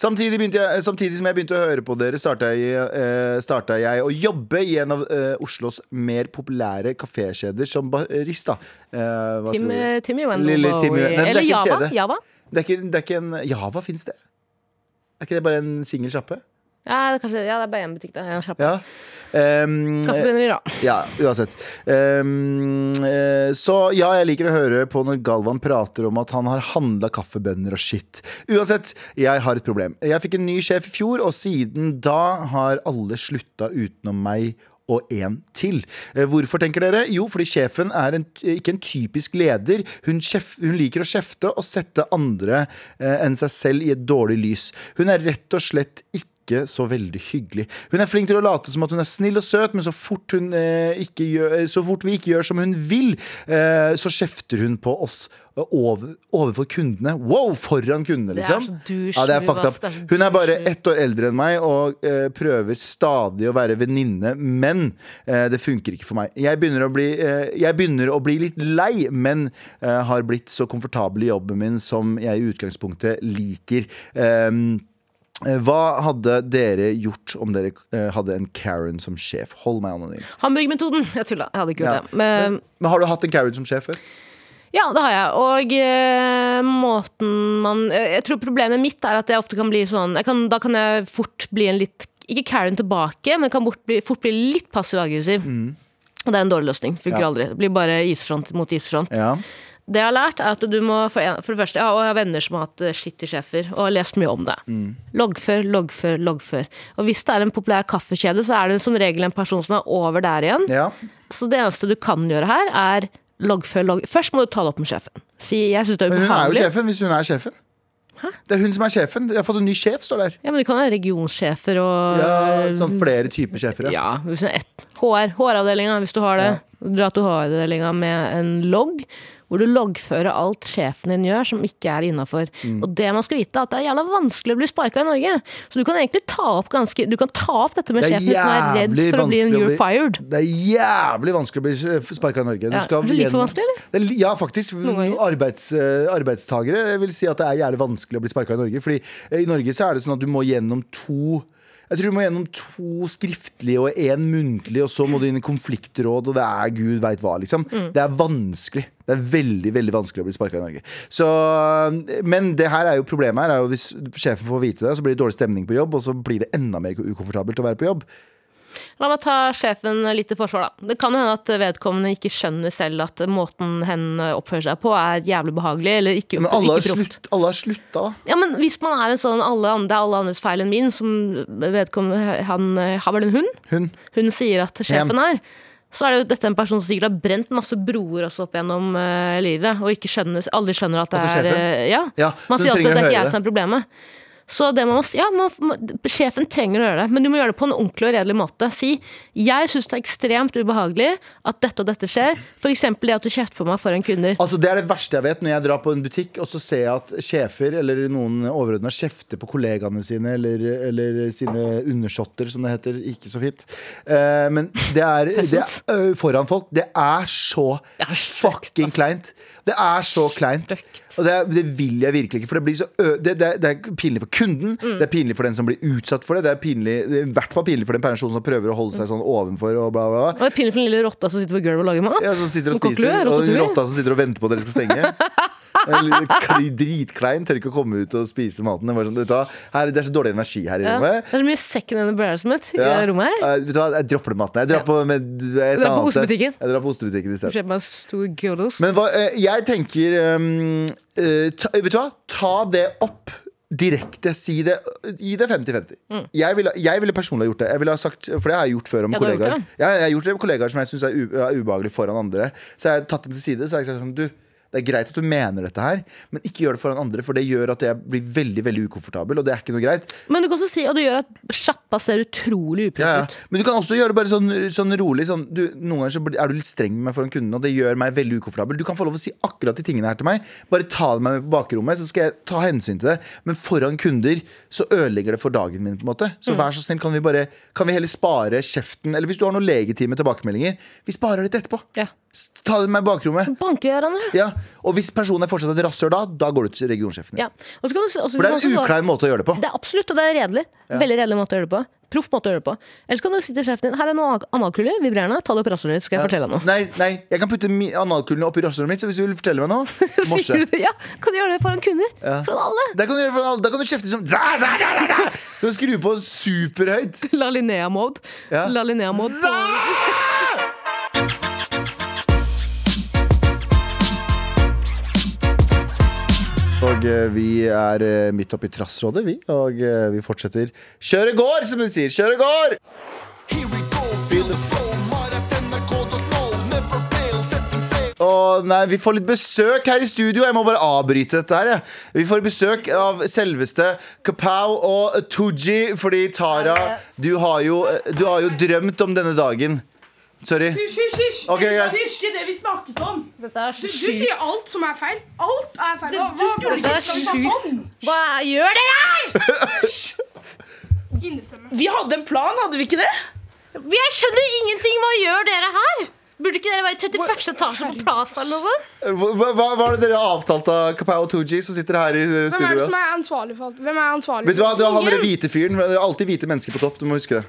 S2: Samtidig, begynte jeg, samtidig som jeg begynte å høre på dere, starta jeg, eh, starta jeg å jobbe i en av eh, Oslos mer populære kafékjeder som barista. Eh, hva
S3: Tim,
S2: tror du?
S3: Timmy Wendelboe.
S2: Lille Timmy- Nei, det er ikke
S3: Eller
S2: en
S3: Java.
S2: kjede.
S3: Java?
S2: Det er ikke, det er ikke en Java fins det? Er ikke det bare en singel sjappe?
S3: Ja, det er, kanskje, ja, det er bare én butikk, da. En kjapp.
S2: Ja. Um,
S3: Kaffebrenneri, da.
S2: Ja, uansett. Ehm, eh, så ja, jeg liker å høre på når Galvan prater om at han har handla kaffebønner og shit. Uansett, jeg har et problem. Jeg fikk en ny sjef i fjor, og siden da har alle slutta utenom meg. Og en til. Eh, Hvorfor, tenker dere? Jo, fordi sjefen er en, ikke en typisk leder. Hun, kjef, hun liker å kjefte og sette andre eh, enn seg selv i et dårlig lys. Hun er rett og slett ikke ikke så veldig hyggelig. Hun er flink til å late som at hun er snill og søt, men så fort, hun, eh, ikke gjør, eh, så fort vi ikke gjør som hun vil, eh, så kjefter hun på oss eh, over, overfor kundene. Wow, foran kundene,
S3: Det er
S2: liksom.
S3: så douche
S2: ja, det er
S3: move,
S2: fucked
S3: ass.
S2: up.
S3: Det er så
S2: Hun er bare
S3: douche move.
S2: ett år eldre enn meg og eh, prøver stadig å være venninne, men eh, det funker ikke for meg. Jeg begynner å bli, eh, jeg begynner å bli litt lei, men eh, har blitt så komfortabel i jobben min som jeg i utgangspunktet liker. Ehm, Eh, Hva hadde dere gjort om dere eh, hadde en Karen som sjef? Hold meg anonym.
S3: Hamburgermetoden. Jeg tulla. Jeg hadde ikke gjort
S2: Ja.
S3: det. Men,
S2: Men har du hatt en Karen som sjef før?
S3: Ja, det har jeg. Og eh, måten man eh, Jeg tror problemet mitt er at jeg ofte kan bli sånn jeg kan, Da kan jeg fort bli en litt Ikke Karen tilbake, men kan fort bli, fort bli litt passiv-aggressiv. Og det er en dårlig løsning. Funker
S2: Mm. Ja.
S3: aldri. Det blir bare isfront mot isfront.
S2: Ja.
S3: Det jeg har lært, er at du må For, en, for det første, jeg har, og jeg har venner som har hatt eh, skittige sjefer, og har lest mye om det.
S2: Mm.
S3: Loggfør, loggfør, loggfør. Og hvis det er en populær kaffekjede, så er det som regel en person som er over der igjen.
S2: ja.
S3: Så det eneste du kan gjøre her, er loggfør logg. Først må du ta det opp med sjefen. Si jeg synes det er
S2: Men hun er jo
S3: ubehagelig.
S2: sjefen, hvis hun er sjefen. Det er hun som er sjefen. Jeg har fått en ny sjef, står der.
S3: Ja, men du kan ha regionsjefer og
S2: Ja, sånn flere typer sjefer, ja.
S3: Eh, Ja, hvis det er ett. HR, HR-avdelinga, hvis du har det. Dra til HR-avdelinga med en logg. Hvor du loggfører alt sjefen din gjør som ikke er innafor.
S2: Mm.
S3: Og det man skal vite, er at det er jævla vanskelig å bli sparka i Norge. Så du kan egentlig ta opp ganske Du kan ta opp dette med
S2: Det er
S3: sjefen uten å være redd
S2: jævlig
S3: for å bli en
S2: vanskelig å
S3: you're
S2: bli-
S3: fired.
S2: Det er jævlig vanskelig å bli sparka i Norge. Du skal
S3: Ja, er det litt for
S2: gjennom-
S3: vanskelig, eller?
S2: Det er li- Ja, faktisk.
S3: ganger.
S2: Arbeids, eh, arbeidstagere vil si at det er jævlig vanskelig å bli sparka i Norge. Fordi eh, i Norge så er det sånn at du må gjennom to jeg tror du må gjennom to skriftlige og én muntlig, og så må du inn i konfliktråd, og det er gud veit hva, liksom.
S3: Mm.
S2: Det er vanskelig. Det er veldig veldig vanskelig å bli sparka i Norge. Så, eh, men det her er jo problemet her er jo hvis sjefen får vite det, så blir det dårlig stemning på jobb, og så blir det enda mer ukomfortabelt å være på jobb.
S3: La meg ta sjefen litt til forsvar, da. Det kan jo hende at vedkommende ikke skjønner selv at måten hen oppfører seg på, er jævlig behagelig eller ikke,
S2: Men alle har,
S3: ikke proft.
S2: slutt, alle har slutta, da.
S3: Ja, men hvis man er en sånn alle andre, det er alle andres feil enn min, som vedkommende han eh, har vel en hund?
S2: Hun.
S3: Hun sier at sjefen
S2: Hen.
S3: er. Så er det jo dette en person som sikkert har brent masse broer også opp gjennom eh, livet, og ikke skjønner, aldri skjønner at det
S2: At det
S3: er
S2: er
S3: eh, ja.
S2: Ja, så
S3: Man
S2: du
S3: sier alltid
S2: trenger å
S3: at det er ikke
S2: høre
S3: jeg
S2: det.
S3: som er problemet. Så det man må si, ja, man, man, Sjefen trenger å gjøre det, men du må gjøre det på en ordentlig og redelig måte. Si jeg syns det er ekstremt ubehagelig at dette og dette skjer. F.eks. det at du kjefter på meg foran kunder.
S2: Altså Det er det verste jeg vet når jeg drar på en butikk og så ser jeg at sjefer eller noen overordna kjefter på kollegaene sine eller, eller sine undersåtter, som det heter. Ikke så fint. Eh, men det er, det er ø, foran folk. Det er så altså. fucking kleint. Det er så kleint. Og det, er- det vil jeg virkelig ikke. For det, blir så ø det, det, er- det er pinlig for kunden, det er pinlig for den som blir utsatt for det. Det er pinlig, det er i hvert fall pinlig for den personen som prøver å holde seg sånn ovenfor og bla, bla, bla.
S3: Og det er pinlig for den lille rotta som sitter på gulvet og lager mat.
S2: Ja, som sitter og
S3: Som koker
S2: spiser,
S3: løk,
S2: og
S3: rotatouille.
S2: rotta som sitter og venter på at dere skal stenge. En liten kli- Dritklein, tør ikke å komme ut og spise maten. Det, er bare sånn, vet du hva, her, det er så dårlig energi her i
S3: Ja.
S2: rommet.
S3: Det er så mye second and embarrassment i
S2: Ja.
S3: det rommet her.
S2: Eh, vet du hva, Jeg dropper den maten. Jeg drar på, med, et
S3: Du drar
S2: annet
S3: på
S2: sted.
S3: ostebutikken?
S2: Jeg drar på ostebutikken i stedet.
S3: Kjøp meg en stor gyros.
S2: Men hva, eh, jeg tenker ehm, eh, ta, Vet du hva? Ta det opp direkte. Si det. Gi det 50-50. Jeg, ville- jeg ville personlig ha gjort det. Jeg ville ha sagt, for det har jeg gjort før om
S3: Mm. Ja, du har gjort
S2: kollegaer. Ja, jeg har gjort det med kollegaer som jeg syns er, u- er ubehagelige foran andre. Så jeg har tatt dem til side. Så har jeg sagt sånn Du, det er greit at du mener dette her, men ikke gjør det foran andre, for det gjør at jeg blir veldig veldig ukomfortabel, og det er ikke noe greit.
S3: Men du kan også si at det gjør at sjappa ser utrolig
S2: Ja,
S3: uproff
S2: ja.
S3: ut.
S2: Men du kan også gjøre det bare sånn, sånn rolig. Sånn, du, noen ganger så blir- er du litt streng med meg foran kundene, og det gjør meg veldig ukomfortabel. Du kan få lov å si akkurat de tingene her til meg. Bare ta det med meg på bakrommet, så skal jeg ta hensyn til det. Men foran kunder så ødelegger det for dagen min, på en måte. Så vær så snill, kan vi bare Kan vi heller spare kjeften? Eller hvis du har noen legitime tilbakemeldinger, vi sparer litt etterpå.
S3: Ja.
S2: S- Ta det med meg i bakrommet.
S3: Banker vi hverandre?
S2: Ja. Og hvis personen er fortsatt et rasshøl da, da går du til regionsjefen. din.
S3: Ja. Og så kan du, s- og så
S2: For det
S3: kan
S2: er en
S3: du også-
S2: uklein måte å gjøre det på.
S3: Det er absolutt, og det er redelig. Veldig redelig måte å gjøre det på. Proff måte å gjøre det på. Ellers kan du si til sjefen din her er noe analkuler, vibrerende, ta det opp rasshølet ditt, skal jeg fortelle deg noe.
S2: Nei, nei, jeg kan putte mi- analkulene oppi rasshølet mitt, så hvis du vil fortelle meg noe morse.
S3: Sier du det? Ja, kan du gjøre det foran kunder? Foran alle!
S2: Da kan du, gjøre for alle- da kan du kjefte som da, da, da, da, da. Du kan skru på superhøyt.
S3: La Linnea-mode.
S2: Ja.
S3: La Linnea-mode på
S2: Og eh, vi er eh, midt oppi trassrådet, vi. Og eh, vi fortsetter. Kjøre gård, som de sier. Kjøre gård!
S4: Here we go, feel the flow, maratnrk.no, never fail, setting sail.
S2: Og nei, vi får litt besøk her i studio. Jeg må bare avbryte dette her. Jeg. Vi får besøk av selveste Kapow og Tooji, fordi Tara, du har, jo, eh, du har jo drømt om denne dagen. Sorry.
S7: Hysj, hysj, hysj!
S2: Ok,
S7: Det
S2: greit.
S7: er ikke det vi snakket om.
S8: Dette er
S7: Du, du sier alt som er feil. Alt er feil.
S8: Hva-
S7: du
S8: hva-
S7: skulle
S8: dette
S7: ikke
S8: er
S7: snakket
S8: sjukt.
S7: sånn.
S8: Hva gjør dere her?!
S7: Innestemme. Vi hadde en plan, hadde vi ikke det?
S8: Jeg skjønner ingenting! Hva gjør dere her?! Burde ikke dere være i 31. etasje på Plaza eller noe sånt?
S2: Hva, hva, hva er det dere har avtalt av Kapow og Tooji, som sitter her i eh,
S7: Hvem er
S2: studio?
S7: det som er ansvarlig for alt? Hvem er ansvarlig
S2: Vet du hva,
S7: for
S2: det var han der hvite fyren. Det er alltid hvite mennesker på topp. Du må huske det.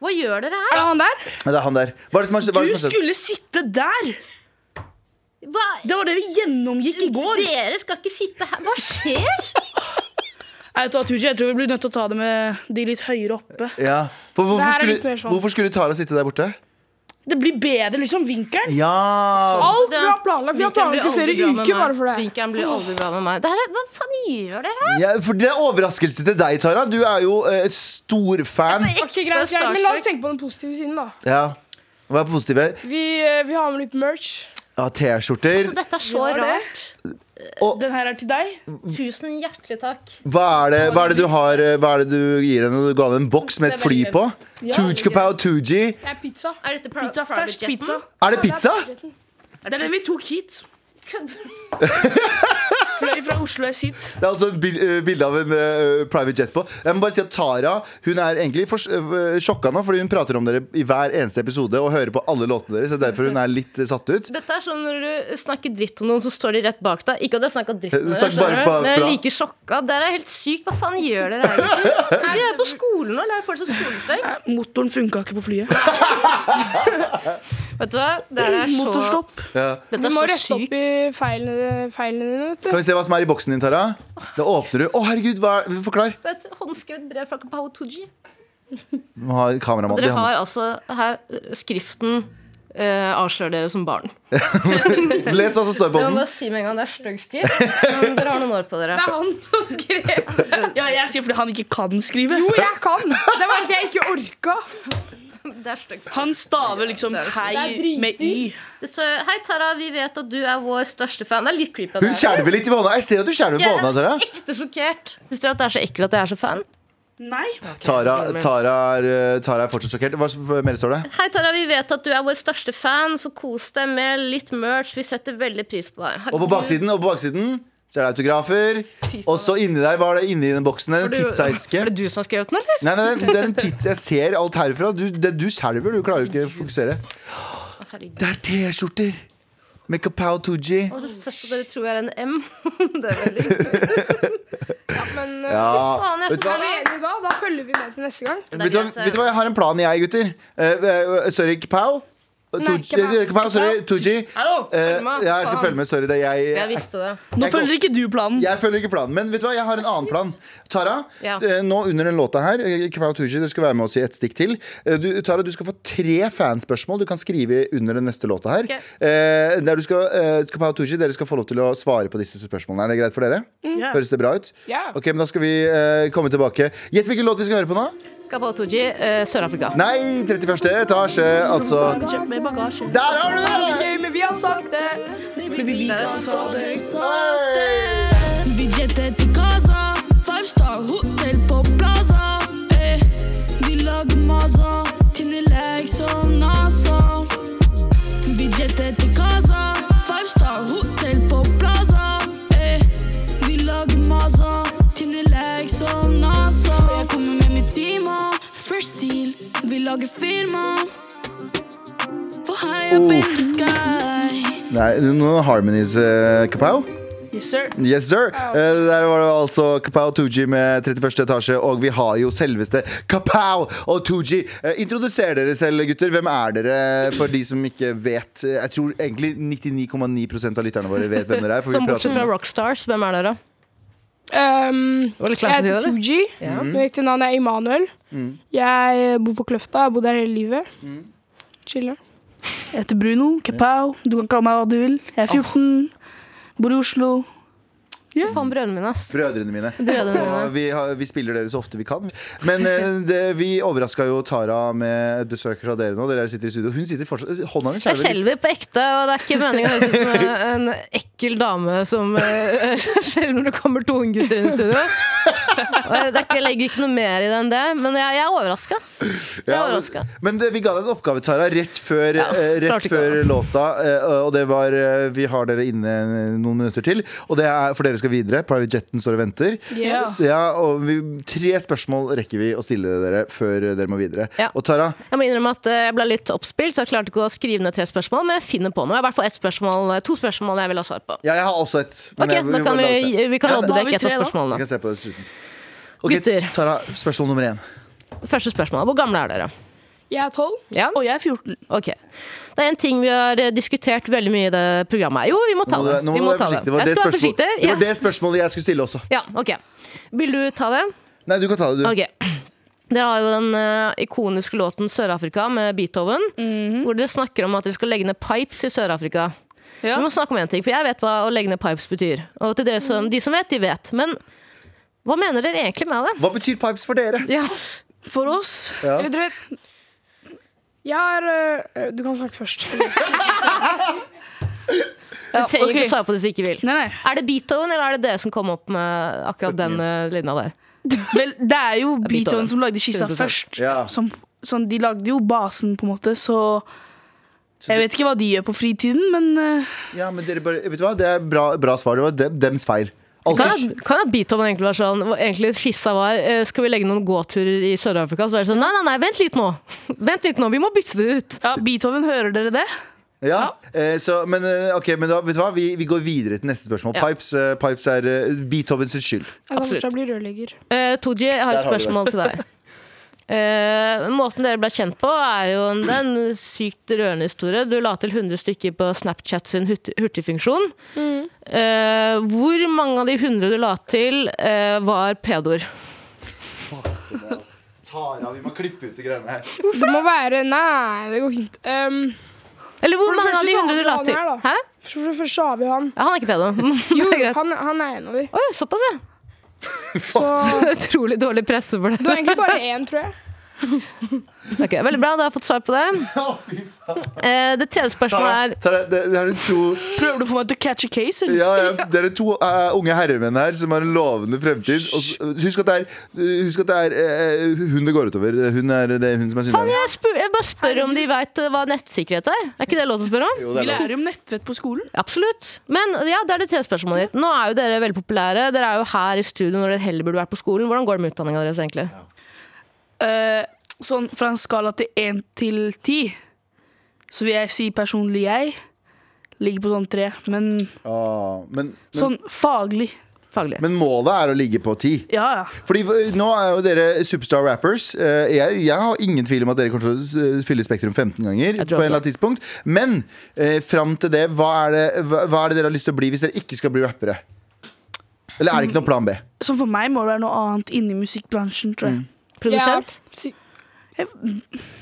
S8: Hva gjør dere
S7: Er
S8: her?
S7: det han der?
S2: Nei, Det er han der. Hva er det som har hva er det som
S7: Du
S2: har skjedd?
S7: skulle sitte der!
S8: Hva?
S7: Det var det vi gjennomgikk i går.
S8: Dere skal ikke sitte her Hva skjer?
S7: Jeg, vet hva, Tuji, jeg tror vi blir nødt til å ta det med de litt høyere oppe.
S2: Ja. For
S7: Det
S2: hvorfor,
S7: her er litt
S2: skulle,
S7: mer sånn.
S2: hvorfor skulle Tara sitte der borte?
S7: Det blir bedre, liksom. Vinkelen.
S2: Ja
S7: Alt vi har planlagt. Vi har
S8: Vinkelen blir
S7: planlagt i flere
S8: aldri bra med
S7: uker
S8: meg.
S7: bare for det.
S8: Vinkelen blir aldri bra med meg. Det her er, hva faen gjør dere her?
S2: ja, For det er overraskelse til deg, Tara. Du er jo eh, et stor fan.
S7: Ok, greit, greit, men La oss tenke på den positive siden. da
S2: Ja. Hva er positive?
S7: Vi, eh, vi har med litt merch.
S2: Ja, T-skjorter.
S8: Dette er så
S7: Gjør det.
S8: rart.
S7: Den her er til deg.
S8: Tusen hjertelig takk.
S2: Hva er, det, hva er det du har eh, Hva er det du gir henne? Du ga henne en boks med et fly på. Tujkapau Tuji.
S7: Det er pizza.
S8: Er dette
S7: Pizza, Fersk pizza.
S2: Er det pizza?
S7: Det er den vi tok hit.
S8: Kødder
S7: Fløy fra Oslo S hit.
S2: Det er altså et bil- eh, bilde av en eh, private jet på. Jeg må bare si at Tara hun er egentlig for, eh, sjokka nå, fordi hun prater om dere i hver eneste episode og hører på alle låtene deres. Det er derfor hun er litt eh, satt ut.
S8: Dette er sånn når du snakker dritt om noen, så står de rett bak deg. Ikke at jeg snakka dritt om
S2: Du
S8: deg,
S2: snakker bare
S8: skjønner du,
S2: bak-
S8: men jeg er
S2: bra.
S8: like sjokka. Dere er helt sykt. Hva faen gjør dere her? egentlig? Så de er på skolen nå, eller er det fortsatt skolestrekk?
S7: Eh, Motoren funka ikke på flyet.
S8: Vet du hva? Dere er så,
S7: Motorstopp.
S2: Ja.
S8: dette
S9: Du må
S8: er
S9: rette
S8: så
S9: opp
S8: sykt.
S9: i feilene, feilene dine. vet
S2: Kan
S9: du.
S2: vi se hva som er i boksen din, Tara? Da åpner du. Å, herregud, hva er Forklar.
S8: Det er et håndskrevet brev fra Kapaho Tooji.
S2: De Har kameramann de
S3: Dere
S2: har-
S3: har altså her eh, skriften eh, avslører dere som barn.
S2: Les hva som står på
S3: Jeg må
S2: den.
S3: bare si med en gang det er stygg skrift. Men dere har noen år på dere.
S9: Det er han som skrev.
S10: Ja, jeg sier fordi han ikke kan skrive.
S9: Jo, jeg kan! Det var at jeg ikke orka.
S3: Det er stygg skrift.
S10: Han staver liksom
S9: Det er
S10: hei
S9: dritdyrt.
S10: med y.
S3: Det står Hei, Tara, vi vet at du er vår største fan. Det er litt creepy. at
S2: Hun
S3: det er-
S2: skjelver litt i våna. Jeg ser at du skjelver på
S3: Jeg
S2: våna, Tara.
S3: er ekte sjokkert. Syns dere at det er så ekkelt at jeg er så fan?
S10: Nei.
S2: Tara, Tara, er, eh, Tara er fortsatt sjokkert. Hva s- mer står det?
S3: Hei, Tara, vi vet at du er vår største fan, så kos deg med litt merch. Vi setter veldig pris på deg.
S2: Og på baksiden, og på baksiden så er det autografer. Og så inni der, hva er det inni den boksen? En
S3: du-
S2: pizzaeske.
S3: Er det du som har skrevet den, eller?
S2: Nei, nei, nei, det er en pizza. Jeg ser alt herfra. Du, det, du skjelver. Du klarer ikke å fokusere. Det er T-skjorter! Med Kapow Tooji.
S3: Og du ser på dere tror jeg er en M. Det er veldig eh,
S9: Men uh,
S2: Ja,
S3: faen, jeg
S2: vet du hva?
S9: er vi enige da? Da følger vi med til neste gang.
S2: Vet du, hva,
S3: greit, det.
S2: vet du hva, jeg har en plan, jeg, gutter. Eh, eh, sorry, Kapow. Tooji-
S9: Kapow.
S2: eh, Kapow, sorry, Tooji.
S3: Hallo!
S2: Eh,
S3: følg med.
S2: ja, jeg skal
S3: Faen.
S2: følge med. Sorry, det er jeg.
S3: Jeg visste det.
S10: Nå
S2: Jeg
S10: følger ikke du planen.
S2: Jeg følger ikke planen, men vet du hva, jeg har en annen plan. Tara,
S3: Ja.
S2: eh, nå under den låta her, eh, Kvao Tooji, dere skal være med oss i et stikk til. Eh, Du, Tara, du skal få tre fanspørsmål du kan skrive under den neste låta her.
S3: Ok.
S2: Eh, Der du skal, eh, Kvao Tooji, dere skal få lov til å svare på disse spørsmålene. Er det greit for dere?
S10: Ja.
S2: Høres det bra ut?
S9: Ja.
S2: Ok, men da skal vi eh, komme tilbake. Gjett hvilken låt vi skal høre på nå?
S3: Kapotoji, eh, Sør-Afrika.
S2: Nei, 31. etasje, altså.
S10: Kjøp med bagasje.
S2: Der har du det!
S9: Gøy, men vi har sagt det.
S10: Men vi kan ta det.
S7: Budsjettet til Gaza. Five star hotell på Plaza. Eh, vi lager maza. Tjener lek som NASA. Budsjettet til Gaza. Five star hotell på Plaza. Eh, vi lager maza. Tjener lek som NASA. Og jeg kommer med mitt team. og Fresh stil. Vi lager firma. For high up in the sky.
S2: Nei, noen harmonies, eh, Kapow.
S10: Yes, sir.
S2: Yes, sir. Eh, der var det altså Kapow Tooji med 31. etasje, og vi har jo selveste Kapow og Tooji. Eh, introduser dere selv, gutter. Hvem er dere, for de som ikke vet? Eh, Jeg tror egentlig 99,9 av lytterne våre vet hvem dere er. For
S3: Som
S2: vi
S3: bortsett
S2: prater
S3: fra
S2: om
S3: Rockstars, hvem er dere?
S9: Um,
S3: Det var litt
S9: jeg
S3: kleint å si det,
S9: heter
S3: eller?
S9: Tooji.
S3: Ja.
S9: Mitt ekte navn er Emanuel. Jeg eh, bor på Kløfta. Jeg har bodd der hele livet. Chiller.
S10: Jeg heter Bruno Kapow. Du kan kalle meg hva du vil. Jeg er 14. Bor i Oslo.
S3: Faen, brødrene mine, ass.
S2: brødrene mine.
S3: Brødrene
S2: Og
S3: mine.
S2: vi, har, vi spiller dere så ofte vi kan. Men eh, det, vi overraska jo Tara med et besøk fra dere nå. Dere sitter i studio. Hun sitter fortsatt Hånda hennes
S3: Jeg
S2: skjelver litt.
S3: skjelver på ekte, og det er ikke meningen å høres ut som eh, en ekkel dame som eh, skjelver når det kommer to unge gutter inn i studio. Og jeg- det er ikke, jeg legger ikke noe mer i det enn det, men jeg, jeg er overraska. Jeg er
S2: Ja,
S3: overraska.
S2: Men det, vi ga deg en oppgave, Tara, rett før, eh, rett
S3: klarte ikke
S2: før låta. eh, og det var eh, Vi har dere inne eh, noen minutter til. Og det er for dere skal videre. Private Jetten står og venter.
S10: Yes.
S2: Ja, og vi, Tre spørsmål rekker vi å stille dere før dere må videre.
S3: Ja.
S2: Og Tara,
S3: Jeg må innrømme at eh, jeg ble litt oppspilt, så jeg klarte ikke å skrive ned tre spørsmål, men jeg finner på noe. Jeg har i hvert fall ett spørsmål, eh, to spørsmål jeg vil ha svar på.
S2: ja, jeg har også et. men
S3: Ok,
S2: jeg-
S3: da
S2: må
S3: kan
S2: la oss se.
S3: vi, vi kan
S2: Ja,
S3: lodde
S10: da har
S3: vekk
S10: vi
S3: et av
S10: tre, da.
S2: Vi
S3: spørsmålene.
S2: kan se på det dessuten. Ok,
S3: Gutter.
S2: Tara, spørsmål nummer én.
S3: Første spørsmål. Hvor gamle er dere?
S9: Jeg er tolv.
S3: Ja?
S10: Og jeg er 14.
S3: Ok. Det er en ting vi har eh, diskutert veldig mye i det programmet. her. Jo, vi må ta
S2: Nå må
S3: det.
S2: du- nå må
S3: Vi
S2: du
S3: må
S2: være
S3: ta
S2: forsiktig. Det var
S3: Jeg
S2: det
S3: skal
S2: spørsmål-
S3: være forsiktig.
S2: det var
S3: Ja.
S2: det spørsmålet jeg skulle stille også.
S3: ja, ok. Vil du ta det?
S2: Nei, du kan ta det, du.
S3: Ok. Dere har jo den eh, ikoniske låten 'Sør-Afrika' med Beethoven.
S10: Mhm.
S3: Hvor dere snakker om at dere skal legge ned pipes i Sør-Afrika.
S10: Ja.
S3: Vi må snakke om en ting, for jeg vet hva å legge ned pipes betyr. Og til dere
S10: Mhm.
S3: som, de som vet, de vet. Men hva mener dere egentlig med det?
S2: Hva betyr pipes for dere?
S3: Ja.
S10: For oss
S2: Ja.
S9: Eller du vet Jeg har øh, Du kan snakke først.
S3: Du trenger
S10: ok.
S3: ikke svare på det hvis du ikke vil.
S10: Nei, nei.
S3: Er det Beethoven, eller er det dere som kom opp med akkurat den eh, linja der?
S10: Vel, det er jo
S3: Beethoven.
S10: Beethoven som lagde skissa
S3: 100%.
S10: først.
S2: Ja.
S10: Som, sånn, de lagde jo basen, på en måte, så Jeg vet ikke hva de gjør på fritiden, men eh,
S2: Ja, men dere bare, vet du hva? Det er bra, bra svar. Det var dem, dems feil. Alt
S3: Kan jeg, kan jeg Beethoven egentlig være sånn hvor Egentlig skissa var eh, Skal vi legge noen gåturer i Sør-Afrika? Så var det sånn Nei, nei, nei, vent litt nå. Vent litt nå, vi må bytte det ut.
S10: ja, Beethoven, hører dere det?
S2: Ja, eh, så, men, eh, ok, men da, vet du hva? Vi, vi går videre til neste spørsmål.
S3: Ja.
S2: Pipes, eh, pipes er eh, Beethovens skyld.
S9: Jeg skal fortsatt bli rørlegger.
S3: Eh, Tooji, jeg har
S2: Der har vi det.
S3: et spørsmål til deg. Eh, måten dere ble kjent på, er jo en, det er en sykt rørende historie. Du la til 100 stykker på Snapchat sin hurti- hurtigfunksjon.
S9: Mm.
S3: Eh, hvor mange av de 100 du la til, eh, var pedoer?
S2: Tara, vi må klippe ut de greiene her.
S9: Det må være Nei, det går fint. Um,
S3: Eller hvor
S9: For det
S3: mange av
S9: første
S3: de
S9: så har
S3: hundre du
S9: vi
S3: la
S9: han
S3: til?
S9: her, da.
S3: Hæ?
S9: for det første så har vi jo han.
S3: Ja, han er ikke pedo.
S9: Jo,
S3: Det er greit.
S9: han, han er en av de.
S3: Oi, såpass, ja.
S9: Så det
S3: Utrolig dårlig presse for det.
S9: var egentlig bare én, tror jeg.
S3: Ok, veldig bra, da har jeg fått svar på det.
S2: Å, fy faen.
S3: Eh, det tredje spørsmålet er
S2: Tara, det, det er de to,
S7: Prøver du å få meg til å catch a case, eller?
S2: ja, ja, det er de to eh, unge herremenn her som har en lovende fremtid. Og, så- husk at det er, husk at det er eh, hun det går utover. Hun er det er hun som er synderen.
S3: jeg, spør, jeg bare spør om de veit hva nettsikkerhet er. Er ikke det lov til å spørre om?
S2: Jo,
S7: Vi
S2: det er lov.
S7: lærer jo om nettvett på skolen.
S3: Absolutt. Men ja, det er det tredje spørsmålet ditt. Nå er jo dere veldig populære. Dere er jo her i studio når dere heller burde vært på skolen. Hvordan går det med utdanninga deres, egentlig?
S7: Eh, sånn fra en skala til 1 til 10, så vil jeg si personlig jeg ligger på sånn 3. Men,
S2: Ah, men, men,
S7: sånn faglig.
S3: Faglig.
S2: men målet er å ligge på ti.
S7: Ja, ja.
S2: Fordi eh, nå er jo dere superstar rappers. Eh, Jeg, jeg har ingen tvil om at dere kommer til å s- eh, fylle Spektrum 15 ganger.
S3: Jeg
S2: På en
S3: tror også
S2: eller annen tidspunkt Men eh, fram til det hva, er det, hva hva er det dere har lyst til å bli hvis dere ikke skal bli rappere? Eller er det ikke noe plan B?
S7: Som for meg må det være noe annet inni musikkbransjen, tror jeg.
S2: Mm.
S3: Produsent?
S9: Ja.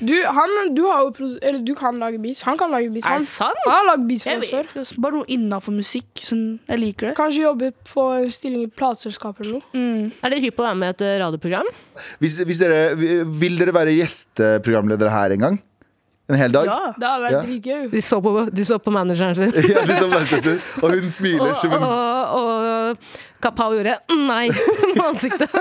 S9: Du, han, du, har jo produ eller, du kan lage beats. Han kan lage beats.
S3: Er
S9: Han,
S3: det sant?
S9: han har lagd beats for
S7: Jeg
S9: oss før.
S7: vet, ikke, altså, Bare noe innafor musikk. Sånn, jeg liker det.
S9: Kanskje jobbe på en stilling i plateselskap eller noe.
S7: Mm.
S3: Er dere hypp på å være med i et eh, radioprogram?
S2: Hvis, hvis dere, vil dere være gjesteprogramledere her en gang? En hel dag?
S7: Ja.
S9: Det hadde vært
S2: Ja.
S9: dritgøy.
S3: De så på, de så på manageren sin.
S2: Ja, liksom, bare sette- og hun
S3: Og,
S2: smiler som
S3: og,
S2: en
S3: og Kapow gjorde "Mm, nei med ansiktet.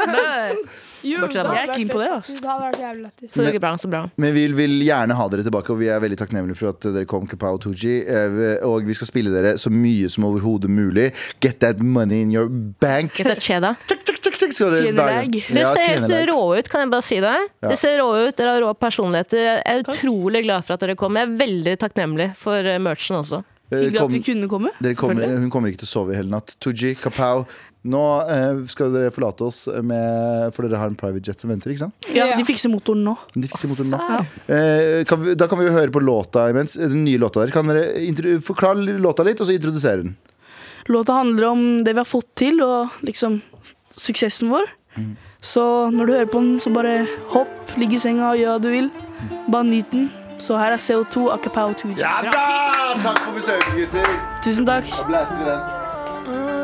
S9: Jo,
S3: Bortsett
S9: det
S3: fra-
S9: hadde
S7: Jeg er
S9: vært
S7: keen på
S9: fett,
S7: det,
S9: faktisk. Det hadde vært jævlig lættis.
S3: Så det gikk bra. så bra
S2: Men vi vil gjerne ha dere tilbake, og vi er veldig takknemlige for at dere kom. Kapow Tooji. Eh, Og vi skal spille dere så mye som overhodet mulig. Get that money in your banks.
S3: Get that cheddar.
S2: Tjekk, tjekk, tjekk, tjekk, skal dere-
S7: Tjene
S2: hver gang.
S7: lag.
S3: Dere
S2: Ja,
S3: ser
S2: tjene
S3: helt
S2: lags.
S3: rå ut, kan jeg bare si det. Dere ser rå ut, dere har rå personligheter. Jeg er utrolig glad for at dere kom. Jeg er veldig takknemlig for eh, merchen også.
S2: Eh,
S7: Hyggelig at
S2: Kom,
S7: vi kunne komme.
S2: dere kommer, hun kommer ikke til å sove i hele natt. Tooji, Kapow. Nå eh, skal dere forlate oss, med, for dere har en private jet som venter. ikke sant?
S7: Ja,
S9: Ja.
S7: De fikser motoren nå.
S2: De fikser motoren nå. Eh, kan vi, da kan vi jo høre på låta imens. Den nye låta der. Kan dere intro- forklare låta litt, og så introdusere den?
S7: Låta handler om det vi har fått til, og liksom suksessen vår.
S2: Mm.
S7: Så når du hører på den, så bare hopp, ligg i senga og gjør hva du vil. Bare nyt den. Så her er CO2 Acapao 2.
S2: Ja da! Takk for besøket, gutter.
S7: Tusen takk.
S2: Da blæser vi den.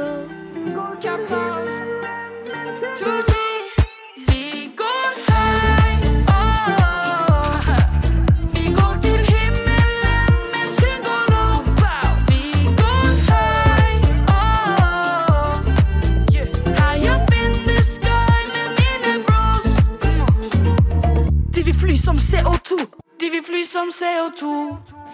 S11: Vi går høyt, åh. Vi går til himmelen mens hun går opp. Vi går høyt, åh. High up in the sky med mine bros. De vil fly som CO2. De vil fly som CO2.
S2: C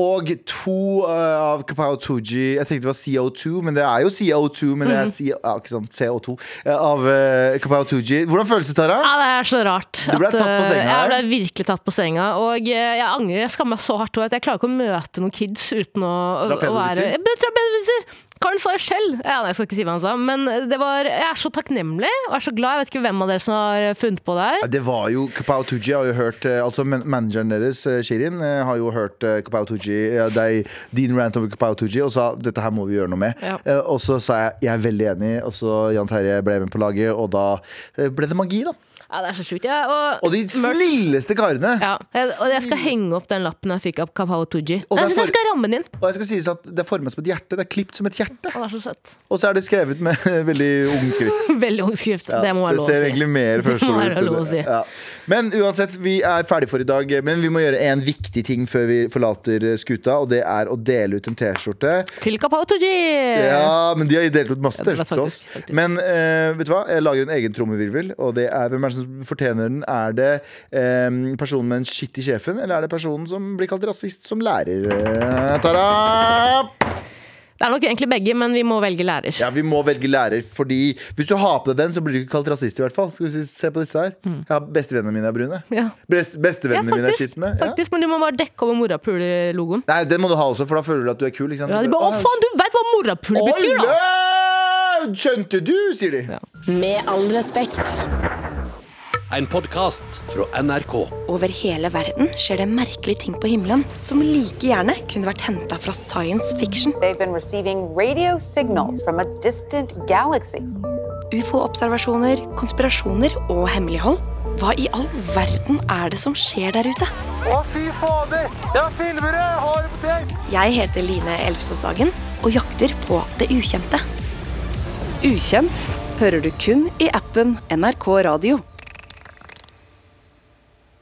S2: og 2 av Kapow Tooji Jeg tenkte det var CO2, men det er jo CO2. Men det
S3: Mhm.
S2: er CO, ja, ikke sant, CO2 eh, av uh, Kapow Tooji. Hvordan føles det, Tara?
S3: Ja, det er så rart.
S2: Du ble
S3: at,
S2: tatt på senga
S3: eh, Jeg ble
S2: her.
S3: virkelig tatt på senga. Og eh, jeg angrer. Jeg skammer meg så hardt over at jeg klarer ikke å møte noen kids uten å,
S2: Dra
S3: å, å være
S2: pedoviser?
S3: Jeg ble- dra pedoviser. Karen sa jo selv ja, nei, Jeg skal ikke si hva han sa, men det var, jeg er så takknemlig og er så glad. Jeg vet ikke hvem av dere som har eh, funnet på det her.
S2: Ja, Det var jo Kapow Tooji har jo hørt eh, Altså man manageren deres, eh, Shirin, eh, har jo hørt eh, Kapow Tooji ja, deg, din rant over Kapow Tooji og sa dette her må vi gjøre noe med.
S3: Ja.
S2: Eh, og så sa jeg jeg er veldig enig, og så Jan Terje ble med på laget, og da eh, ble det magi, da.
S3: Ja, det er så sjukt. Ja, og,
S2: Og de
S3: merch-
S2: snilleste karene.
S3: Ja, jeg, og jeg skal henge opp den lappen jeg fikk av Kapow Tooji.
S2: Og
S3: Jeg
S2: derfor-
S3: synes jeg skal ramme den inn.
S2: Og jeg skal sies at det er formet som et hjerte. Det er klipt som et hjerte.
S3: Han er så søt.
S2: Og så er det skrevet med veldig ung skrift.
S3: Veldig ung skrift.
S2: Ja,
S3: det må være lov å
S2: ser
S3: si.
S2: egentlig mer
S3: må
S2: førskole
S3: være
S2: ut.
S3: lov å si.
S2: Ja. Men uansett, vi er ferdig for i dag. eh, Men vi må gjøre en viktig ting før vi forlater eh, skuta, og det er å dele ut en T-skjorte.
S3: Til Kapow Tooji!
S2: Ja, men de har delt ut masse
S3: Eh. Ja, det var
S2: T-skjorter til oss.
S3: faktisk- faktisk.
S2: Men eh, vet du hva? Jeg lager en egen trommevirvel, og det er hvem er det som fortjener den? Er det eh, personen med en skitt i sjefen, eller er det personen som blir kalt rasist som lærer? Eh, Tara!
S3: Det er nok egentlig begge, men vi må velge lærer.
S2: Ja, vi må velge lærer, fordi hvis du har på deg den, så blir du ikke kalt rasist i hvert fall. Skal vi si- se på disse her. Ja, bestevennene mine er brune.
S3: Mm. Ja.
S2: Best,
S3: Ja,
S2: bestevennene mine er
S3: faktisk,
S2: skitne. Ja.
S3: faktisk, men du må bare dekke over morapuler-logoen.
S2: Nei, den må du ha også, for da føler du at du er kul. Ikke sant?
S3: Ja, de bare, Å, faen, du veit hva morapuler
S2: Oi,
S3: betyr, da!
S2: lø! Skjønte du, sier de.
S12: Med all respekt.
S13: En podkast fra NRK.
S11: Over hele verden skjer det merkelige ting på himmelen som like gjerne kunne vært henta fra science fiction.
S12: They've been receiving radio signals from a distant galaxy.
S11: ufo-observasjoner, konspirasjoner og hemmelighold. Hva i all verden er det som skjer der ute?
S14: Å, fy fader! Jeg filmer det! Jeg har det på tape!
S11: Jeg heter Line Elfsås Hagen og jakter på det ukjente. Ukjent hører du kun i appen NRK Radio.